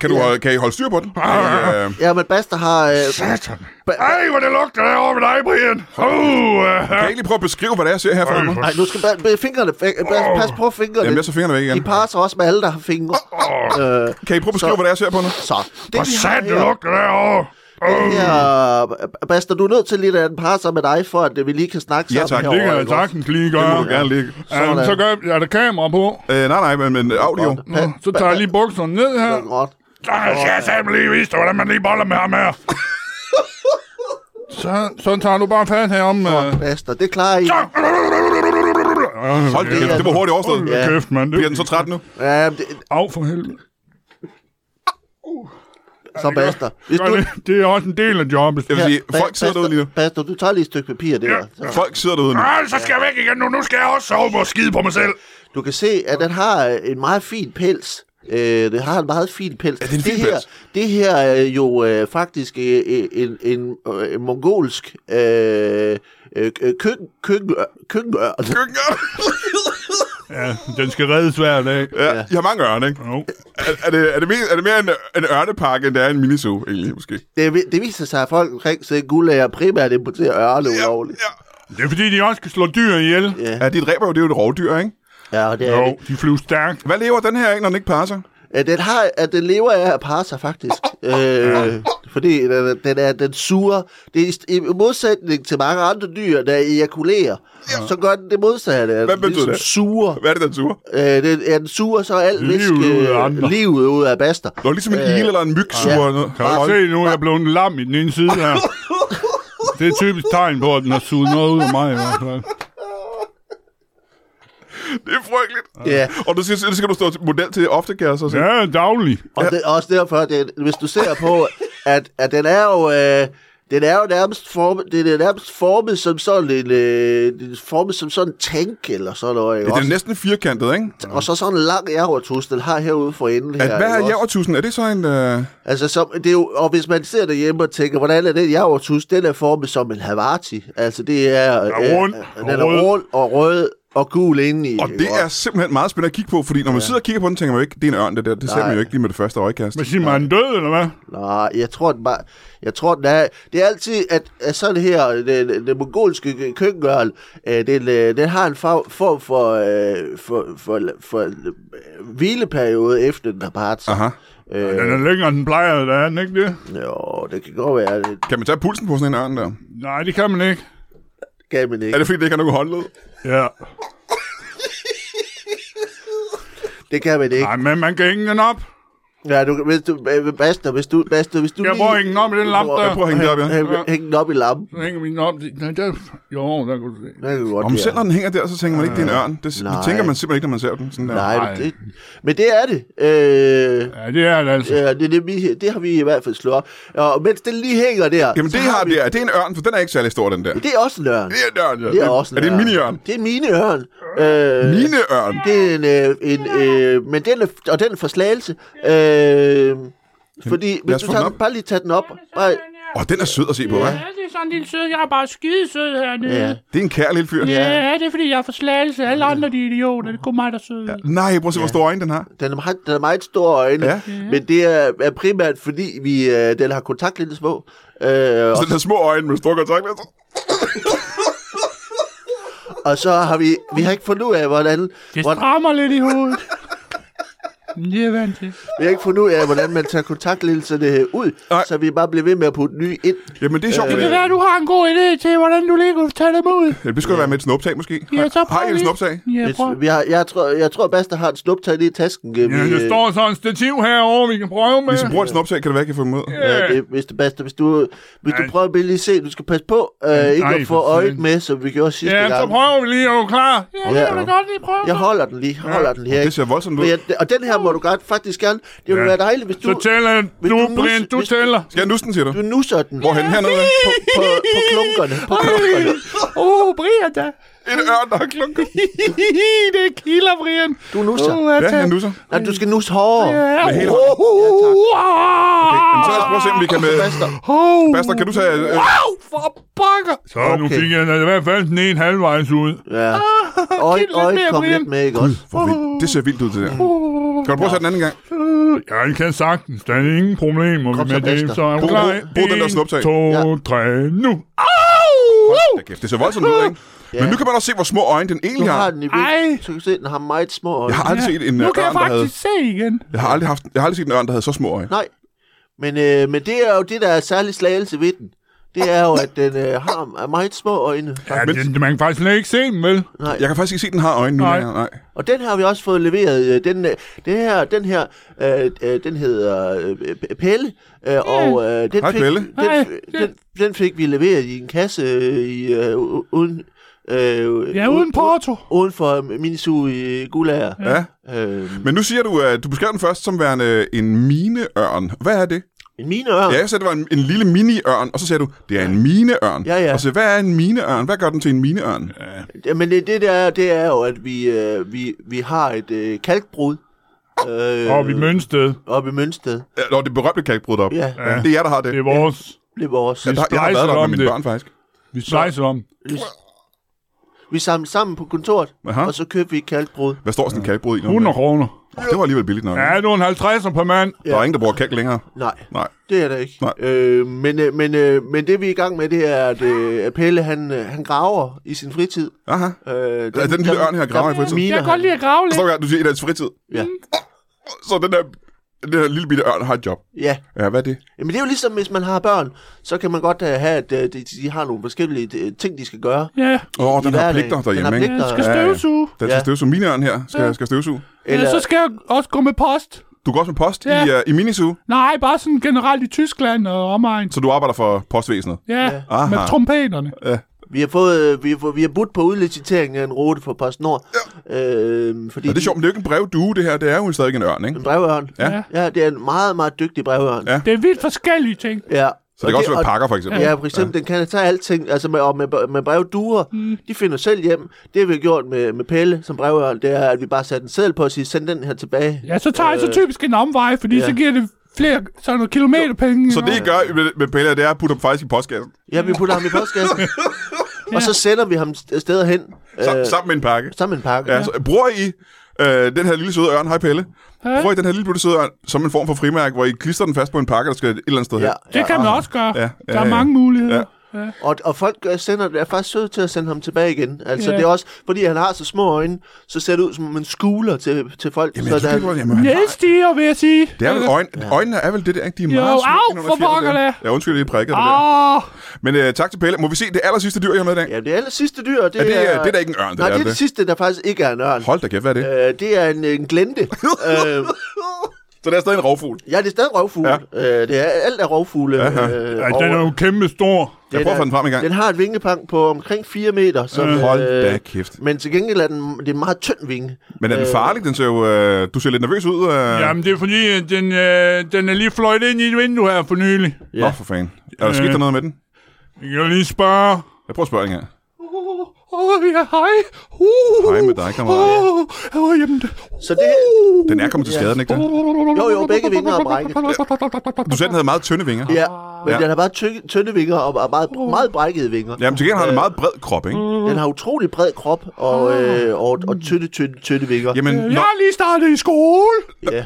[SPEAKER 1] kan, du, øh, kan I holde styr på den? Øh,
[SPEAKER 3] Ja, men Basta har... Øh,
[SPEAKER 2] Satan. Ej, hvor det lugter derovre ved dig, Brian. Uh,
[SPEAKER 1] kan I ikke lige prøve at beskrive, hvad det er, jeg ser her for mig?
[SPEAKER 3] Nej, nu skal bare, bare fingrene, fa- pas, pas på fingrene.
[SPEAKER 1] Jamen, jeg tager fingrene væk igen.
[SPEAKER 3] De parer sig også med alle, der har fingre. Øh,
[SPEAKER 1] Kan I prøve at beskrive,
[SPEAKER 3] Så-
[SPEAKER 1] hvad det er, jeg ser på nu?
[SPEAKER 3] så, det
[SPEAKER 2] hvor
[SPEAKER 3] vi har
[SPEAKER 2] satan det
[SPEAKER 3] her,
[SPEAKER 2] lugter derovre.
[SPEAKER 3] det her, øh, Basta, du er nødt til lige at den parer sig med dig, for at øh, vi lige kan snakke
[SPEAKER 1] Ja,
[SPEAKER 3] sammen
[SPEAKER 1] tak.
[SPEAKER 3] herovre.
[SPEAKER 2] Det kan jeg
[SPEAKER 3] ikke også?
[SPEAKER 2] sagtens lige
[SPEAKER 1] Det må
[SPEAKER 2] gøre.
[SPEAKER 1] du gerne ligge.
[SPEAKER 2] Øhm, så gør, er der kamera på.
[SPEAKER 1] Øh, nej, nej, men, men audio.
[SPEAKER 2] Nå, så tager jeg lige bukserne ned her.
[SPEAKER 3] Det er godt.
[SPEAKER 2] Så skal jeg sammen lige vise dig, hvordan man lige boller med ham her. så, så tager du bare fat her om... Øh.
[SPEAKER 3] Basta, det klarer I.
[SPEAKER 2] Så-
[SPEAKER 1] Hold det,
[SPEAKER 3] er-
[SPEAKER 1] det var hurtigt overstået.
[SPEAKER 3] Ja.
[SPEAKER 2] Kæft, mand.
[SPEAKER 1] Bliver den så træt nu?
[SPEAKER 3] Ja, men det,
[SPEAKER 2] Af for helvede.
[SPEAKER 3] så basta. Hvis
[SPEAKER 2] Gør
[SPEAKER 3] du,
[SPEAKER 2] det. Det er også en del af jobbet.
[SPEAKER 1] Jeg vil sige,
[SPEAKER 3] Ba-
[SPEAKER 1] folk sidder
[SPEAKER 3] basta-
[SPEAKER 1] derude lige nu.
[SPEAKER 3] Basta, du tager lige et stykke papir der. Så.
[SPEAKER 1] Folk sidder derude nu.
[SPEAKER 2] Ah, så skal jeg væk igen nu. Nu skal jeg også sove og skide på mig selv.
[SPEAKER 3] Du kan se, at den har øh, en meget fin pels. Øh, det har en meget fin pels.
[SPEAKER 1] det en fin
[SPEAKER 3] her,
[SPEAKER 1] pels?
[SPEAKER 3] Det her er jo øh, faktisk øh, øh, en, en, øh, en mongolsk øh, øh, køkken, køkken, køkkenørn.
[SPEAKER 2] Ja, den skal reddes hver dag.
[SPEAKER 1] Ja, I har mange ørne, ikke?
[SPEAKER 2] Jo.
[SPEAKER 1] Er, er, det, er, det mere, er det mere en, en ørnepakke, end det er en miniso, egentlig, måske?
[SPEAKER 3] Det, vi- det viser sig, at folk omkring sig guldager primært importerer ørne ulovligt.
[SPEAKER 1] ja.
[SPEAKER 2] Det er fordi, de også skal slå dyr ihjel.
[SPEAKER 3] Ja.
[SPEAKER 1] Ja, de dræber jo, det er jo et rovdyr, ikke?
[SPEAKER 3] Ja, og det er
[SPEAKER 2] Jo,
[SPEAKER 3] det.
[SPEAKER 2] de flyver stærkt.
[SPEAKER 1] Hvad lever den her af, når den ikke passer?
[SPEAKER 3] Øh, Den, har, at den lever af at parre sig, faktisk. Øh, fordi den, er- den, er, den suger. Det er i st- i modsætning til mange andre dyr, der ejakulerer. Så gør den det modsatte. at
[SPEAKER 1] Hvad
[SPEAKER 3] den
[SPEAKER 1] betyder
[SPEAKER 3] ligesom
[SPEAKER 1] det?
[SPEAKER 3] Suger.
[SPEAKER 1] Hvad er det, den suger?
[SPEAKER 3] Øh, den, ja, den suger så alt
[SPEAKER 2] Livet
[SPEAKER 3] væske,
[SPEAKER 2] ud af andre.
[SPEAKER 3] livet ud af baster.
[SPEAKER 1] Nå, ligesom
[SPEAKER 3] Øh.
[SPEAKER 1] en il eller en myg suger
[SPEAKER 3] ja.
[SPEAKER 1] noget.
[SPEAKER 2] Ah. Kan du se nu, jeg er blevet en lam i den ene side her. Det er et typisk tegn på, at den har suget noget ud af mig. i hvert fald.
[SPEAKER 1] Det er frygteligt.
[SPEAKER 3] Ja,
[SPEAKER 1] Og du siger, så skal du stå til- model til ofte, kan jeg så sige.
[SPEAKER 2] Ja, daglig.
[SPEAKER 3] og det er også derfor, at det, hvis du ser på, at, at den er jo... Øh, den er jo nærmest formet, den er nærmest formet som sådan en, øh, den er formet som sådan en tank eller sådan noget.
[SPEAKER 1] Ja,
[SPEAKER 3] Ikke?
[SPEAKER 1] den
[SPEAKER 3] også?
[SPEAKER 1] er næsten firkantet, ikke?
[SPEAKER 3] Og så sådan en lang jævertus, den har herude for enden her.
[SPEAKER 1] At, hvad er
[SPEAKER 3] ikke også?
[SPEAKER 1] jævertusen? Er det så en... Øh...
[SPEAKER 3] Altså, som, det er jo, og hvis man ser derhjemme og tænker, hvordan er den jævertus? Den er formet som en havarti. Altså, det er... Den
[SPEAKER 2] rund
[SPEAKER 3] den
[SPEAKER 2] og
[SPEAKER 3] er
[SPEAKER 2] rød.
[SPEAKER 3] rund og rød og gul indeni.
[SPEAKER 1] Og
[SPEAKER 3] ikke
[SPEAKER 1] det
[SPEAKER 3] også?
[SPEAKER 1] er simpelthen meget spændende at kigge på, fordi når man sidder og kigger på den, tænker man jo ikke, det er en ørn, det der. Det ser man jo ikke lige med det første øjekast.
[SPEAKER 2] Hvad siger man, er den død, eller hvad?
[SPEAKER 3] Nej, jeg tror, den bare, jeg tror, den er... Det er altid, at, at sådan her, den, den mongolske køkkengørl, øh, den, øh, den har en farv, form for, øh, for, for, for, øh, hvileperiode efter den har parret sig.
[SPEAKER 1] Aha.
[SPEAKER 2] Den er længere, end den plejer, der er den, ikke det?
[SPEAKER 3] Jo, det kan godt være, det
[SPEAKER 1] Kan man tage pulsen på sådan en ørn der?
[SPEAKER 2] Nej, det kan man ikke.
[SPEAKER 3] kan man
[SPEAKER 1] Er
[SPEAKER 3] ikke.
[SPEAKER 1] det fordi, det ikke har nogen håndled?
[SPEAKER 2] Ja.
[SPEAKER 3] Det kan man ikke.
[SPEAKER 2] Nej, men man kan hænge den op.
[SPEAKER 3] Ja, du, kan- hvis du, øh, Basta, hvis du, Basta, hvis du
[SPEAKER 2] Jeg prøver at hænge den op i den lampe der.
[SPEAKER 1] Jeg prøver at hænge det op, ja.
[SPEAKER 3] Hæng, hæng, hæng den op i lampen.
[SPEAKER 2] Så hænger vi den op. Nej, der... Jo, der kunne du se.
[SPEAKER 3] Det kan godt
[SPEAKER 1] Om
[SPEAKER 3] være.
[SPEAKER 1] selv når den hænger der, så tænker man ikke, det er en ørn. Det, det
[SPEAKER 3] Nej.
[SPEAKER 1] tænker man simpelthen ikke, når man ser den. Sådan der.
[SPEAKER 3] Nej,
[SPEAKER 2] Nej.
[SPEAKER 3] men det, men det er det. Øh,
[SPEAKER 2] Ja, det er det altså.
[SPEAKER 3] ja, det, det, vi, det har vi i hvert fald slået op. Og mens den lige hænger der...
[SPEAKER 1] Jamen
[SPEAKER 3] så
[SPEAKER 1] det her, det er, det er en ørn, for den er ikke særlig stor, den der.
[SPEAKER 3] Det er også en ørn.
[SPEAKER 1] Det er en ørn, ja.
[SPEAKER 3] Det er også en
[SPEAKER 1] Er det en miniørn?
[SPEAKER 3] Det er en miniørn. Øh,
[SPEAKER 1] Mineørn?
[SPEAKER 3] Det er en... Øh, en øh, men den er, og den er for slagelse. Øh, fordi,
[SPEAKER 1] lad
[SPEAKER 3] hvis
[SPEAKER 1] os
[SPEAKER 3] du
[SPEAKER 1] få
[SPEAKER 3] tager
[SPEAKER 1] den
[SPEAKER 3] den,
[SPEAKER 1] op.
[SPEAKER 3] bare lige tage den op. Bare,
[SPEAKER 1] Åh, den er sød at se på, hva'?
[SPEAKER 6] Ja, det er sådan en lille sød. Jeg er bare skidesød hernede.
[SPEAKER 3] ja.
[SPEAKER 6] Ja.
[SPEAKER 1] Det er en kær lille fyr.
[SPEAKER 6] Ja, det er fordi, jeg er for slagelse. Alle andre de er idioter. Det er kun mig, der er sød. Ja.
[SPEAKER 1] Nej, prøv at se, hvor store øjne den har.
[SPEAKER 3] Den er meget, den er meget store øjne,
[SPEAKER 1] Ja.
[SPEAKER 3] ja. men det er, er primært, fordi vi, øh, den har kontaktlinser på. Øh,
[SPEAKER 1] Så
[SPEAKER 3] og,
[SPEAKER 1] Altså, den har små øjne med store kontaktlinser.
[SPEAKER 3] og så har vi, vi har ikke fundet ud af, hvordan,
[SPEAKER 6] Det
[SPEAKER 3] hvordan,
[SPEAKER 6] strammer lidt i hovedet. Men Det er jeg vant til.
[SPEAKER 3] vi har ikke fundet ud af, hvordan man tager kontaktlinserne ud,
[SPEAKER 1] Nej.
[SPEAKER 3] så vi bare bliver ved med at putte nye ind.
[SPEAKER 1] Jamen det er sjovt.
[SPEAKER 6] Det
[SPEAKER 1] Øh,
[SPEAKER 6] kan være, du har en god idé til, hvordan du lige kunne tage dem ud.
[SPEAKER 1] ja, det skulle være med et snuptag, måske.
[SPEAKER 6] Ja, så prøv
[SPEAKER 1] har I et
[SPEAKER 6] lige.
[SPEAKER 1] snuptag?
[SPEAKER 6] Ja, prøv.
[SPEAKER 3] Vi har, jeg, tror, jeg tror, Basta har en snuptag i tasken. øh,
[SPEAKER 2] Ja,
[SPEAKER 3] vi,
[SPEAKER 2] der
[SPEAKER 3] øh,
[SPEAKER 2] står så en stativ herovre, vi kan prøve med.
[SPEAKER 1] Hvis I bruger et snuptag, kan det være, at I kan få dem ud.
[SPEAKER 3] Ja, det, hvis, det, Basta, hvis du, hvis du
[SPEAKER 2] Ej.
[SPEAKER 3] prøver at lige se, du skal passe på, øh, ikke
[SPEAKER 2] Nej,
[SPEAKER 3] at få
[SPEAKER 2] for
[SPEAKER 3] øjet
[SPEAKER 2] fanden.
[SPEAKER 3] med, som vi gjorde sidste
[SPEAKER 2] Ja, så
[SPEAKER 3] gang.
[SPEAKER 2] prøver vi lige. Er du klar?
[SPEAKER 6] Ja, det kan du godt lige prøve.
[SPEAKER 3] Jeg holder den lige, holder den her.
[SPEAKER 1] Det ser voldsomt ud.
[SPEAKER 3] Men jeg- og den her må du godt, faktisk gerne. Det ville
[SPEAKER 2] Ja.
[SPEAKER 3] ja. være dejligt, hvis
[SPEAKER 2] Så
[SPEAKER 3] du,
[SPEAKER 2] tæller
[SPEAKER 3] hvis
[SPEAKER 2] du,
[SPEAKER 3] du mus-
[SPEAKER 2] Brian. Du
[SPEAKER 3] hvis-
[SPEAKER 2] tæller.
[SPEAKER 1] Skal jeg nusse den, siger du?
[SPEAKER 3] du nusser den på,
[SPEAKER 1] Hvorhen hernede?
[SPEAKER 3] på, på, på klunkerne. På klunkerne.
[SPEAKER 6] Åh, oh, Brian da.
[SPEAKER 1] En ørn, der har klunket.
[SPEAKER 6] det kilder, Brian.
[SPEAKER 3] Du nusser.
[SPEAKER 6] Uh,
[SPEAKER 1] Ja, jeg nusser.
[SPEAKER 3] Nej, du skal nusse hårdere.
[SPEAKER 6] Ja,
[SPEAKER 1] Med hele
[SPEAKER 6] uh,
[SPEAKER 1] hånden.
[SPEAKER 6] uh,
[SPEAKER 1] Jamen, så lad os prøve at se, om vi kan... Med...
[SPEAKER 3] Basta.
[SPEAKER 6] uh.
[SPEAKER 1] Basta, kan du tage... Øh,
[SPEAKER 6] Au, for pokker.
[SPEAKER 2] Så nu
[SPEAKER 3] Okay.
[SPEAKER 2] fik jeg da i hvert fald den ene halvvejs ud.
[SPEAKER 3] Ja. Øjet,
[SPEAKER 6] Ah, lidt
[SPEAKER 3] øjet
[SPEAKER 6] mere,
[SPEAKER 3] kom
[SPEAKER 6] Brian.
[SPEAKER 3] lidt med, ikke også?
[SPEAKER 1] hvor vildt. Det ser vildt ud, det der. Kan du prøve at tage den anden gang?
[SPEAKER 2] Jeg kan sagtens. Der er ingen problemer
[SPEAKER 3] Kom så,
[SPEAKER 2] med det.
[SPEAKER 3] Basta.
[SPEAKER 2] Så er du
[SPEAKER 1] Brug-
[SPEAKER 2] klar?
[SPEAKER 1] brug- brug den der
[SPEAKER 2] En,
[SPEAKER 1] snuptag.
[SPEAKER 2] to, tre, nu.
[SPEAKER 1] Da kæft, det ser voldsomt ud, ikke? Men nu kan man også se, hvor små øjne den
[SPEAKER 3] Du
[SPEAKER 1] egentlig har.
[SPEAKER 3] har den i vinkel.
[SPEAKER 6] Ej.
[SPEAKER 3] Så kan du se, den har meget små øjne.
[SPEAKER 1] Jeg har aldrig set en øh,
[SPEAKER 6] Nu kan
[SPEAKER 1] ørn,
[SPEAKER 6] jeg
[SPEAKER 1] der havde...
[SPEAKER 6] faktisk se igen.
[SPEAKER 1] Jeg har aldrig, haft, jeg har aldrig set en ørn, der havde så små øjne.
[SPEAKER 3] Nej. Men, øh, men det er jo det, der er særlig slagelse ved den. Det er jo, at den øh, har er meget små øjne.
[SPEAKER 2] Ja, det, man kan faktisk slet ikke se dem, vel?
[SPEAKER 3] Nej.
[SPEAKER 1] Jeg kan faktisk ikke se, at den har øjne nu.
[SPEAKER 2] Nej.
[SPEAKER 1] længere, Nej.
[SPEAKER 3] Og den har vi også fået leveret. øh, Den, øh, den her, den her, øh, øh, den hedder øh, P- Pelle. Øh, og øh, den
[SPEAKER 1] Hej,
[SPEAKER 3] fik,
[SPEAKER 1] Pelle.
[SPEAKER 3] Den,
[SPEAKER 6] Hej.
[SPEAKER 3] den, den fik vi leveret i en kasse øh, i, øh, u- uden Øh,
[SPEAKER 6] Jeg er
[SPEAKER 3] u-
[SPEAKER 6] uden porto.
[SPEAKER 3] u- Uden for Minisu i Gulager.
[SPEAKER 1] Ja.
[SPEAKER 3] Øh,
[SPEAKER 1] Men nu siger du, at du beskrev den først som værende øh, en mineørn. Hvad er det?
[SPEAKER 3] en mineørn.
[SPEAKER 1] Ja, jeg sagde, det var en, en lille miniørn, og så sagde du, det er en mineørn.
[SPEAKER 3] Ja, ja.
[SPEAKER 1] Og så, hvad er en mineørn? Hvad gør den til en mineørn?
[SPEAKER 3] Ja. Men det, det der er, det er jo, at vi, øh, vi, vi har et øh, kalkbrud. Øh,
[SPEAKER 2] Og vi mønsted.
[SPEAKER 3] Oppe i Mønsted.
[SPEAKER 1] Ja. Nå, det berømte kalkbrud op.
[SPEAKER 3] Ja,
[SPEAKER 1] Ja. Det er jer, der har det.
[SPEAKER 2] Det er vores.
[SPEAKER 3] det er vores.
[SPEAKER 1] Ja, der, jeg har
[SPEAKER 2] Splejser
[SPEAKER 1] været der
[SPEAKER 2] om
[SPEAKER 1] med mine
[SPEAKER 2] det.
[SPEAKER 1] børn, faktisk.
[SPEAKER 2] Vi splejser om.
[SPEAKER 3] Vi samlede sammen på kontoret,
[SPEAKER 1] Aha.
[SPEAKER 3] og så købte vi et kalkbrud.
[SPEAKER 1] Hvad står sådan en kalkbrud i? nu?
[SPEAKER 2] 100 kroner.
[SPEAKER 1] Åh, det var alligevel billigt nok.
[SPEAKER 2] Ja,
[SPEAKER 1] Ja.
[SPEAKER 2] det er en 50'er per mand.
[SPEAKER 1] Der er ingen, der bruger kalk længere.
[SPEAKER 3] Nej,
[SPEAKER 1] Nej.
[SPEAKER 3] det er der ikke.
[SPEAKER 1] Nej.
[SPEAKER 3] Øh, men, øh, men, øh, men det vi er i gang med, det er, at, øh, at Pelle han, øh, han graver i sin fritid.
[SPEAKER 1] Aha.
[SPEAKER 3] Øh, den,
[SPEAKER 1] den lille ørn her graver i fritiden?
[SPEAKER 6] Jeg
[SPEAKER 3] Miner,
[SPEAKER 6] kan godt lide at grave lidt.
[SPEAKER 1] Forstår du, hvad du siger i deres fritid?
[SPEAKER 3] Ja.
[SPEAKER 1] Så den der, den der lille bitte ørn har et job.
[SPEAKER 3] Ja,
[SPEAKER 1] Ja, hvad er det?
[SPEAKER 3] men det er jo ligesom, hvis man har børn, så kan man godt øh, have, at øh, de, de har nogle forskellige øh, ting, de skal gøre.
[SPEAKER 6] Ja,
[SPEAKER 1] Åh, oh, den har
[SPEAKER 3] hverdagen.
[SPEAKER 1] pligter
[SPEAKER 3] Den har
[SPEAKER 1] derhjemme, ikke?
[SPEAKER 6] jeg skal
[SPEAKER 1] Ja, ja.
[SPEAKER 6] støvsuge.
[SPEAKER 1] Den skal
[SPEAKER 3] Ja.
[SPEAKER 1] støvsuge. Min ørn her skal, skal støvsuge.
[SPEAKER 6] Eller... Ja, så skal jeg også gå med post.
[SPEAKER 1] Du går også med post i,
[SPEAKER 6] Ja.
[SPEAKER 1] uh, i Minisu,
[SPEAKER 6] Nej, bare sådan generelt i Tyskland og omegn.
[SPEAKER 1] så du arbejder for postvæsenet.
[SPEAKER 6] Ja,
[SPEAKER 1] Aha.
[SPEAKER 6] med trompeterne.
[SPEAKER 3] Vi har fået, øh, vi har, fået, vi har budt på udlicitering af en rute fra PostNord. Ja. Øh, fordi
[SPEAKER 1] Og det er sjovt, men det er jo ikke en brevdue, det her. Det er jo stadig en ørn, ikke?
[SPEAKER 3] En brevørn.
[SPEAKER 1] Ja.
[SPEAKER 3] ja, det er en meget, meget dygtig brevørn.
[SPEAKER 1] Ja.
[SPEAKER 6] Det er vildt forskellige ting.
[SPEAKER 3] ja.
[SPEAKER 1] Så det kan også være pakker, for eksempel.
[SPEAKER 3] Ja, for eksempel, ja. den kan tage alting, altså med, og med, med brevduer, mm. de finder selv hjem. Det vi har gjort med, med Pelle som brevørn, det er, at vi bare satte en seddel på og siger, send den her tilbage.
[SPEAKER 6] Ja, så tager jeg så typisk en omvej, fordi
[SPEAKER 3] ja.
[SPEAKER 6] så giver det flere sådan nogle kilometerpenge.
[SPEAKER 1] Så det, I gør med, med Pelle, det er at putte ham faktisk i postkassen.
[SPEAKER 3] Ja, vi putter ham i postkassen, og så sender vi ham st- steder hen. øh,
[SPEAKER 1] Sam, sammen med en pakke.
[SPEAKER 3] sammen med en pakke.
[SPEAKER 1] Ja, så bruger I øh, den her lille søde ørn, hej Pelle, bruger I den her lille bitte søde ørn som en form for frimærke, hvor I klister den fast på en pakke, der skal et eller andet sted
[SPEAKER 3] ja,
[SPEAKER 1] hen?
[SPEAKER 6] Det kan man også gøre.
[SPEAKER 1] Ja, ja,
[SPEAKER 6] Der
[SPEAKER 1] ja.
[SPEAKER 6] er mange muligheder.
[SPEAKER 3] Og, og folk øh, sender, er faktisk søde til at sende ham tilbage igen. Altså,
[SPEAKER 6] Ja.
[SPEAKER 3] det er også, fordi han har så små øjne, så ser det ud som en skuler til, til folk.
[SPEAKER 1] Jamen,
[SPEAKER 3] så
[SPEAKER 1] jeg
[SPEAKER 3] da
[SPEAKER 1] kan
[SPEAKER 3] han-
[SPEAKER 1] ikke, jamen, han har-
[SPEAKER 6] Næstiger, vil jeg sige.
[SPEAKER 1] det er vel øjne, øjnene er vel det der, ikke? De er
[SPEAKER 6] Jo,
[SPEAKER 1] meget små
[SPEAKER 6] au,
[SPEAKER 1] ind under
[SPEAKER 6] for
[SPEAKER 1] fjerene
[SPEAKER 6] pokker
[SPEAKER 1] der.
[SPEAKER 6] da.
[SPEAKER 1] Ja, undskyld, jeg lige prikkede det der.
[SPEAKER 6] Åh,
[SPEAKER 1] Men øh, tak til Pelle. Må vi se det aller sidste dyr, jeg har med i dag?
[SPEAKER 3] Ja, det aller sidste dyr, det
[SPEAKER 1] Er
[SPEAKER 3] er...
[SPEAKER 1] det, øh, det er da ikke en ørn, det
[SPEAKER 3] Nej,
[SPEAKER 1] der, er
[SPEAKER 3] det er det
[SPEAKER 1] det?
[SPEAKER 3] sidste, der faktisk ikke er en ørn.
[SPEAKER 1] Hold da kæft, hvad er det?
[SPEAKER 3] Øh, det er en, en glente. øh,
[SPEAKER 1] Så det er stadig en rovfugl.
[SPEAKER 3] ja, det er stadig rovfugle.
[SPEAKER 1] Ja.
[SPEAKER 3] Ja. Øh, det er alt er rovfugle. Øh,
[SPEAKER 1] ja.
[SPEAKER 2] Ej, den er jo kæmpe stor.
[SPEAKER 1] Jeg prøver at få den frem i gang.
[SPEAKER 3] Den har et vingepang på omkring 4 meter. Så, øh,
[SPEAKER 1] Hold da kæft.
[SPEAKER 3] Men til gengæld er den, det er en meget tynd vinge.
[SPEAKER 1] Men er den farlig? Den ser jo, øh, du ser lidt nervøs ud. Øh.
[SPEAKER 2] Jamen, det er fordi, at den, øh, den er lige fløjt ind i et vindue her for nylig.
[SPEAKER 1] Nå, for fanden. Er der sket der noget med den?
[SPEAKER 2] Jeg kan lige spørge.
[SPEAKER 1] Jeg prøver at spørge den her.
[SPEAKER 6] oh, ja, hej. Uh,
[SPEAKER 1] Hej med dig, kammerat.
[SPEAKER 6] Oh, oh, jamen, det-
[SPEAKER 3] Så det,
[SPEAKER 6] Uh.
[SPEAKER 1] Den er kommet til skade, er den ikke det?
[SPEAKER 3] jo, jo, begge vinger er brækket.
[SPEAKER 1] Du sagde, den havde meget tynde vinger.
[SPEAKER 3] Ja, men
[SPEAKER 1] Ja.
[SPEAKER 3] ja. den har bare tykke, tynde vinger og og meget, meget brækkede vinger.
[SPEAKER 1] Jamen, til gengæld har den en meget bred krop, ikke?
[SPEAKER 3] Den har utrolig bred krop og, øh, og, og tynde, tynde, tynde vinger.
[SPEAKER 1] Jamen, nå,
[SPEAKER 6] Jeg er lige startet i skole.
[SPEAKER 3] Ja.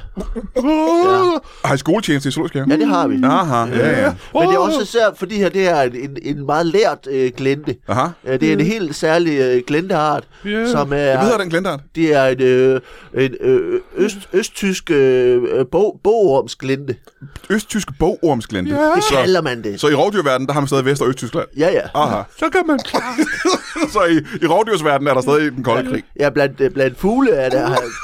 [SPEAKER 1] har I skoletjeneste i zoologisk have?
[SPEAKER 3] ja, det har vi.
[SPEAKER 1] Aha, ja, ja.
[SPEAKER 3] Men det er også især, fordi her det er en, en, en meget lært øh, glente.
[SPEAKER 1] Aha.
[SPEAKER 3] Øh, det er en helt særlig øh, glenteart,
[SPEAKER 6] Ja.
[SPEAKER 3] som
[SPEAKER 1] Hvad hedder
[SPEAKER 3] er...
[SPEAKER 1] den glendart?
[SPEAKER 3] Det er en, øh, en øh, øst, østtysk øh, øh, bog, bogormsglente.
[SPEAKER 1] Østtysk bogormsglente.
[SPEAKER 3] Det
[SPEAKER 1] Så,
[SPEAKER 3] kalder man det.
[SPEAKER 1] så i rovdyrverdenen, der har man stadig Vest- og Østtyskland.
[SPEAKER 3] Ja, ja.
[SPEAKER 1] Aha.
[SPEAKER 6] Så kan man klare
[SPEAKER 1] så i, i rovdyrsverdenen er der stadig den kolde krig.
[SPEAKER 3] Ja, blandt, øh, blandt fugle er der... Har...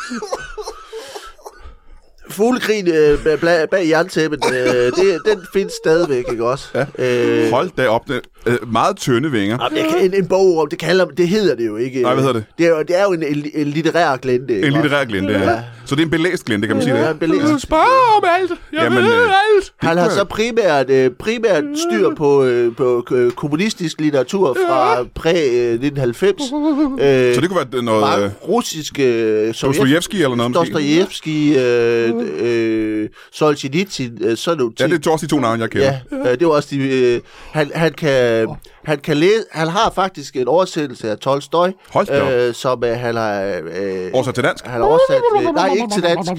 [SPEAKER 3] Fuglekrigen øh, bag- bag, bag jerntæppet, øh, det, den findes stadigvæk, ikke også? Ja. Øh,
[SPEAKER 1] Hold da op. Den, øh, meget tynde vinger.
[SPEAKER 3] jamen, jeg kan, en, en bogorm, det, kalder, det hedder det jo ikke.
[SPEAKER 1] Nej, hvad hedder det?
[SPEAKER 3] Det er jo, det er jo en, en, en litterær glente. ikke
[SPEAKER 1] En
[SPEAKER 3] også?
[SPEAKER 1] litterær glente, ja. Så det er en belæst glente, kan man sige det?
[SPEAKER 3] Ja, en belæst.
[SPEAKER 6] spørge Øh, om alt. Jeg
[SPEAKER 1] Jamen,
[SPEAKER 6] ved
[SPEAKER 1] øh,
[SPEAKER 6] alt.
[SPEAKER 3] Han har så primært, øh, primært styr på, øh, på øh, kommunistisk litteratur fra præ-1990. Øh,
[SPEAKER 1] Så det kunne være noget øh,
[SPEAKER 3] mange russiske øh, sovjet...
[SPEAKER 1] Dostojevski eller noget måske?
[SPEAKER 3] Dostojevski, øh, øh, Solzhenitsyn, øh, sådan nogle
[SPEAKER 1] Ja,
[SPEAKER 3] ting.
[SPEAKER 1] det er også de to navne, jeg kender.
[SPEAKER 3] Ja, øh, det var også de... Øh, han, han, kan, han kan læse... Han har faktisk en oversættelse af Tolstoy,
[SPEAKER 1] Hold da op.
[SPEAKER 3] som øh, han har... Øh,
[SPEAKER 1] Oversat til dansk.
[SPEAKER 3] han har oversat... Øh, nej, ikke til dansk,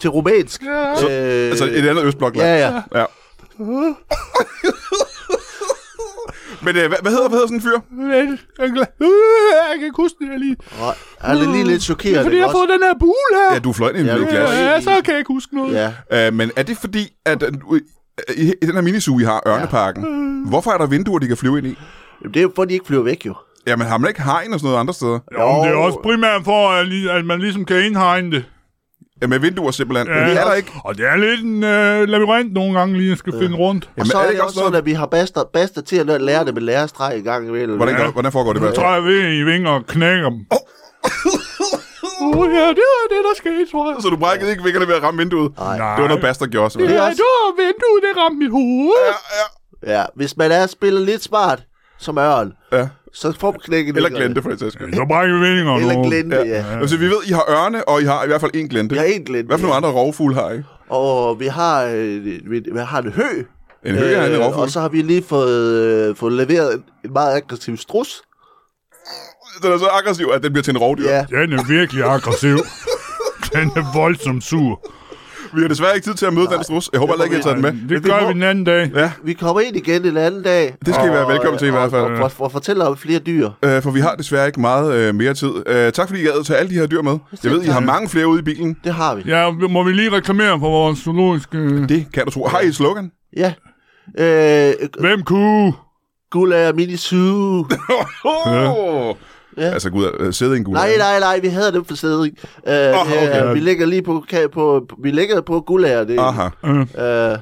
[SPEAKER 3] til rumænsk.
[SPEAKER 1] Så,
[SPEAKER 3] Øh,
[SPEAKER 1] altså et andet østblokland.
[SPEAKER 3] ja, ja.
[SPEAKER 1] ja. Men øh, hvad, hvad, hedder, hvad hedder sådan en fyr?
[SPEAKER 6] Men, jeg er glad. Øh, Jeg kan ikke huske det jeg lige.
[SPEAKER 3] Og han er lige lidt
[SPEAKER 6] Det er
[SPEAKER 3] chokeret.
[SPEAKER 6] fordi,
[SPEAKER 3] ikke
[SPEAKER 6] jeg har
[SPEAKER 3] også?
[SPEAKER 6] fået den her bule her.
[SPEAKER 1] Ja, du er fløjt i en
[SPEAKER 3] Ja,
[SPEAKER 1] lille
[SPEAKER 3] du-
[SPEAKER 1] glas.
[SPEAKER 6] Ja, så kan jeg ikke huske noget.
[SPEAKER 3] Ja.
[SPEAKER 1] Øh, men er det fordi, at øh, nu- øh, i i den her minisu, I har, Ørneparken, Mm. hvorfor er der vinduer, de kan flyve ind i?
[SPEAKER 3] Jamen, det er jo for, at de ikke flyver væk, jo.
[SPEAKER 1] Jamen, har man ikke hegn og sådan noget andre steder?
[SPEAKER 2] Jo, men det er også primært for, at, li- at man ligesom kan indhegne det.
[SPEAKER 1] Ja, med vinduer simpelthen. Ja. Det er der ikke.
[SPEAKER 2] Og det er lidt en øh, labyrint nogle gange lige, at skal finde rundt.
[SPEAKER 3] Og
[SPEAKER 1] Jamen,
[SPEAKER 3] så
[SPEAKER 1] er
[SPEAKER 3] er
[SPEAKER 1] det
[SPEAKER 3] det
[SPEAKER 1] ikke
[SPEAKER 3] også
[SPEAKER 1] også
[SPEAKER 3] sådan, at vi har baster, baster til at lære det med lærestreg i gang imellem.
[SPEAKER 1] Hvordan, gør, hvordan foregår det?
[SPEAKER 2] Jeg tror, jeg ved, I vinger og knækker dem.
[SPEAKER 6] Uh, ja, det var det, der skete, tror jeg.
[SPEAKER 1] Så du brækkede ikke vingerne ved at ramme vinduet? Nej. Det var noget Basta gjorde,
[SPEAKER 3] Det
[SPEAKER 1] simpelthen.
[SPEAKER 3] er
[SPEAKER 6] Ja,
[SPEAKER 3] også,
[SPEAKER 6] det var vinduet, det ramte mit hoved.
[SPEAKER 1] Ja, ja.
[SPEAKER 3] ja, hvis man er spiller lidt smart, som Ørl,
[SPEAKER 1] Ja.
[SPEAKER 3] så får man knækket
[SPEAKER 1] Eller
[SPEAKER 3] vingerne.
[SPEAKER 1] glente, for det sags skyld.
[SPEAKER 2] Så brækker vi vinger
[SPEAKER 3] Eller
[SPEAKER 2] nu.
[SPEAKER 3] glente, ja. ja.
[SPEAKER 1] Altså, vi ved, I har ørne, og I har i hvert fald en glente.
[SPEAKER 3] Jeg er en glente.
[SPEAKER 1] Hvad for nogle andre rovfugle har I?
[SPEAKER 3] Og vi har, øh, vi, vi har en hø.
[SPEAKER 1] En hø er en
[SPEAKER 3] Øh, og
[SPEAKER 1] rovfugl.
[SPEAKER 3] så har vi lige fået, øh, fået leveret en, en meget aggressiv strus.
[SPEAKER 1] Den er så aggressiv, at den bliver til en rovdyr.
[SPEAKER 3] Ja,
[SPEAKER 2] Den er virkelig aggressiv. Den er voldsomt sur.
[SPEAKER 1] Vi har desværre ikke tid til at møde den strus. Jeg håber heller ikke, at I tager den med.
[SPEAKER 2] Det gør vi en anden dag.
[SPEAKER 1] Ja,
[SPEAKER 3] vi kommer ind igen en anden dag.
[SPEAKER 1] Det skal I være velkommen til i hvert fald.
[SPEAKER 3] Og, og, og, og fortæller om flere dyr.
[SPEAKER 1] øh, for vi har desværre ikke meget øh, mere tid. Øh, tak fordi I gad at tage alle de her dyr med. Jeg ved, I har mange flere ude i bilen.
[SPEAKER 3] Det har vi.
[SPEAKER 2] Ja, må vi lige reklamere for vores zoologiske...
[SPEAKER 1] Det kan du tro. Har I et slogan?
[SPEAKER 3] Ja. Øh,
[SPEAKER 2] Hvem kunne?
[SPEAKER 3] guld er mini suge.
[SPEAKER 1] Oh. Ja. Altså, gud, øh, sæde i en gul.
[SPEAKER 3] Nej, nej, nej, vi havde dem for sædring. Øh,
[SPEAKER 1] Åh,
[SPEAKER 3] okay.
[SPEAKER 1] okay.
[SPEAKER 3] øh, vi ligger lige på, ka- på, vi ligger på gulager. Det,
[SPEAKER 1] Aha.
[SPEAKER 3] Øh,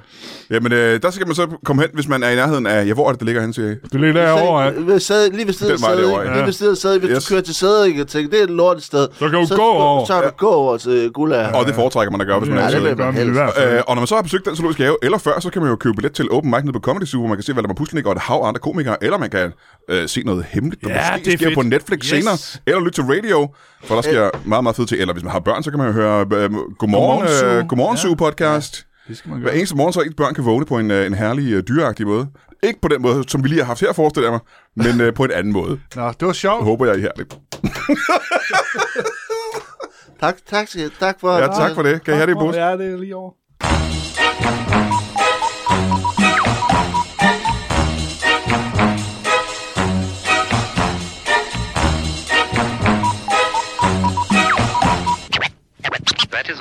[SPEAKER 1] Jamen, øh, der skal man så komme hen, hvis man er i nærheden af... Ja, hvor er det, det ligger hen, siger I?
[SPEAKER 2] Det er lidt derovre, ja.
[SPEAKER 3] sæd- ved sæd, lige ved siden af
[SPEAKER 1] Den vej derovre,
[SPEAKER 3] sædring.
[SPEAKER 1] ja.
[SPEAKER 3] Lige ved siden af sædring. Hvis
[SPEAKER 1] Yes.
[SPEAKER 3] du kører til sædring og tænker, det er et lortet sted.
[SPEAKER 2] Så kan du gå over.
[SPEAKER 3] Så kan du gå over til gulager.
[SPEAKER 1] Og det foretrækker man at gøre, hvis man
[SPEAKER 3] Mm. Ja,
[SPEAKER 1] er i
[SPEAKER 3] det
[SPEAKER 1] Sæde.
[SPEAKER 3] vil
[SPEAKER 2] gør
[SPEAKER 3] man
[SPEAKER 2] vi i
[SPEAKER 3] helst.
[SPEAKER 2] hvert fald.
[SPEAKER 1] Øh, og når man så har besøgt den zoologiske have, eller før, så kan man jo købe billet til Open Mic nede på Comedy Zoo, hvor man kan se Valdemar Puslenik og et hav af andre komikere, eller man kan øh, se noget hemmeligt, der
[SPEAKER 2] Ja,
[SPEAKER 1] ja, måske
[SPEAKER 2] det er
[SPEAKER 1] sker
[SPEAKER 2] fedt.
[SPEAKER 1] på Netflix yes.
[SPEAKER 2] Yes.
[SPEAKER 1] senere, eller lytte til radio, for der sker meget, meget fedt til. Eller hvis man har børn, så kan man jo høre øh, Godmorgen,
[SPEAKER 2] Godmorgen Zoo.
[SPEAKER 1] øh, Godmorgen Zoo podcast.
[SPEAKER 2] Det skal man
[SPEAKER 1] Hver eneste morgen, så ens børn kan vågne på en, øh, en herlig øh, dyreagtig måde. Ikke på den måde, som vi lige har haft her, forestiller jeg mig, men øh, på en anden måde.
[SPEAKER 2] Nå, det var sjovt.
[SPEAKER 1] Håber jeg, I her lidt.
[SPEAKER 3] Tak, tak, skal- tak for...
[SPEAKER 1] Ja, tak for det. Kan I have det i pose?
[SPEAKER 2] Ja, det er lige over.
[SPEAKER 7] That is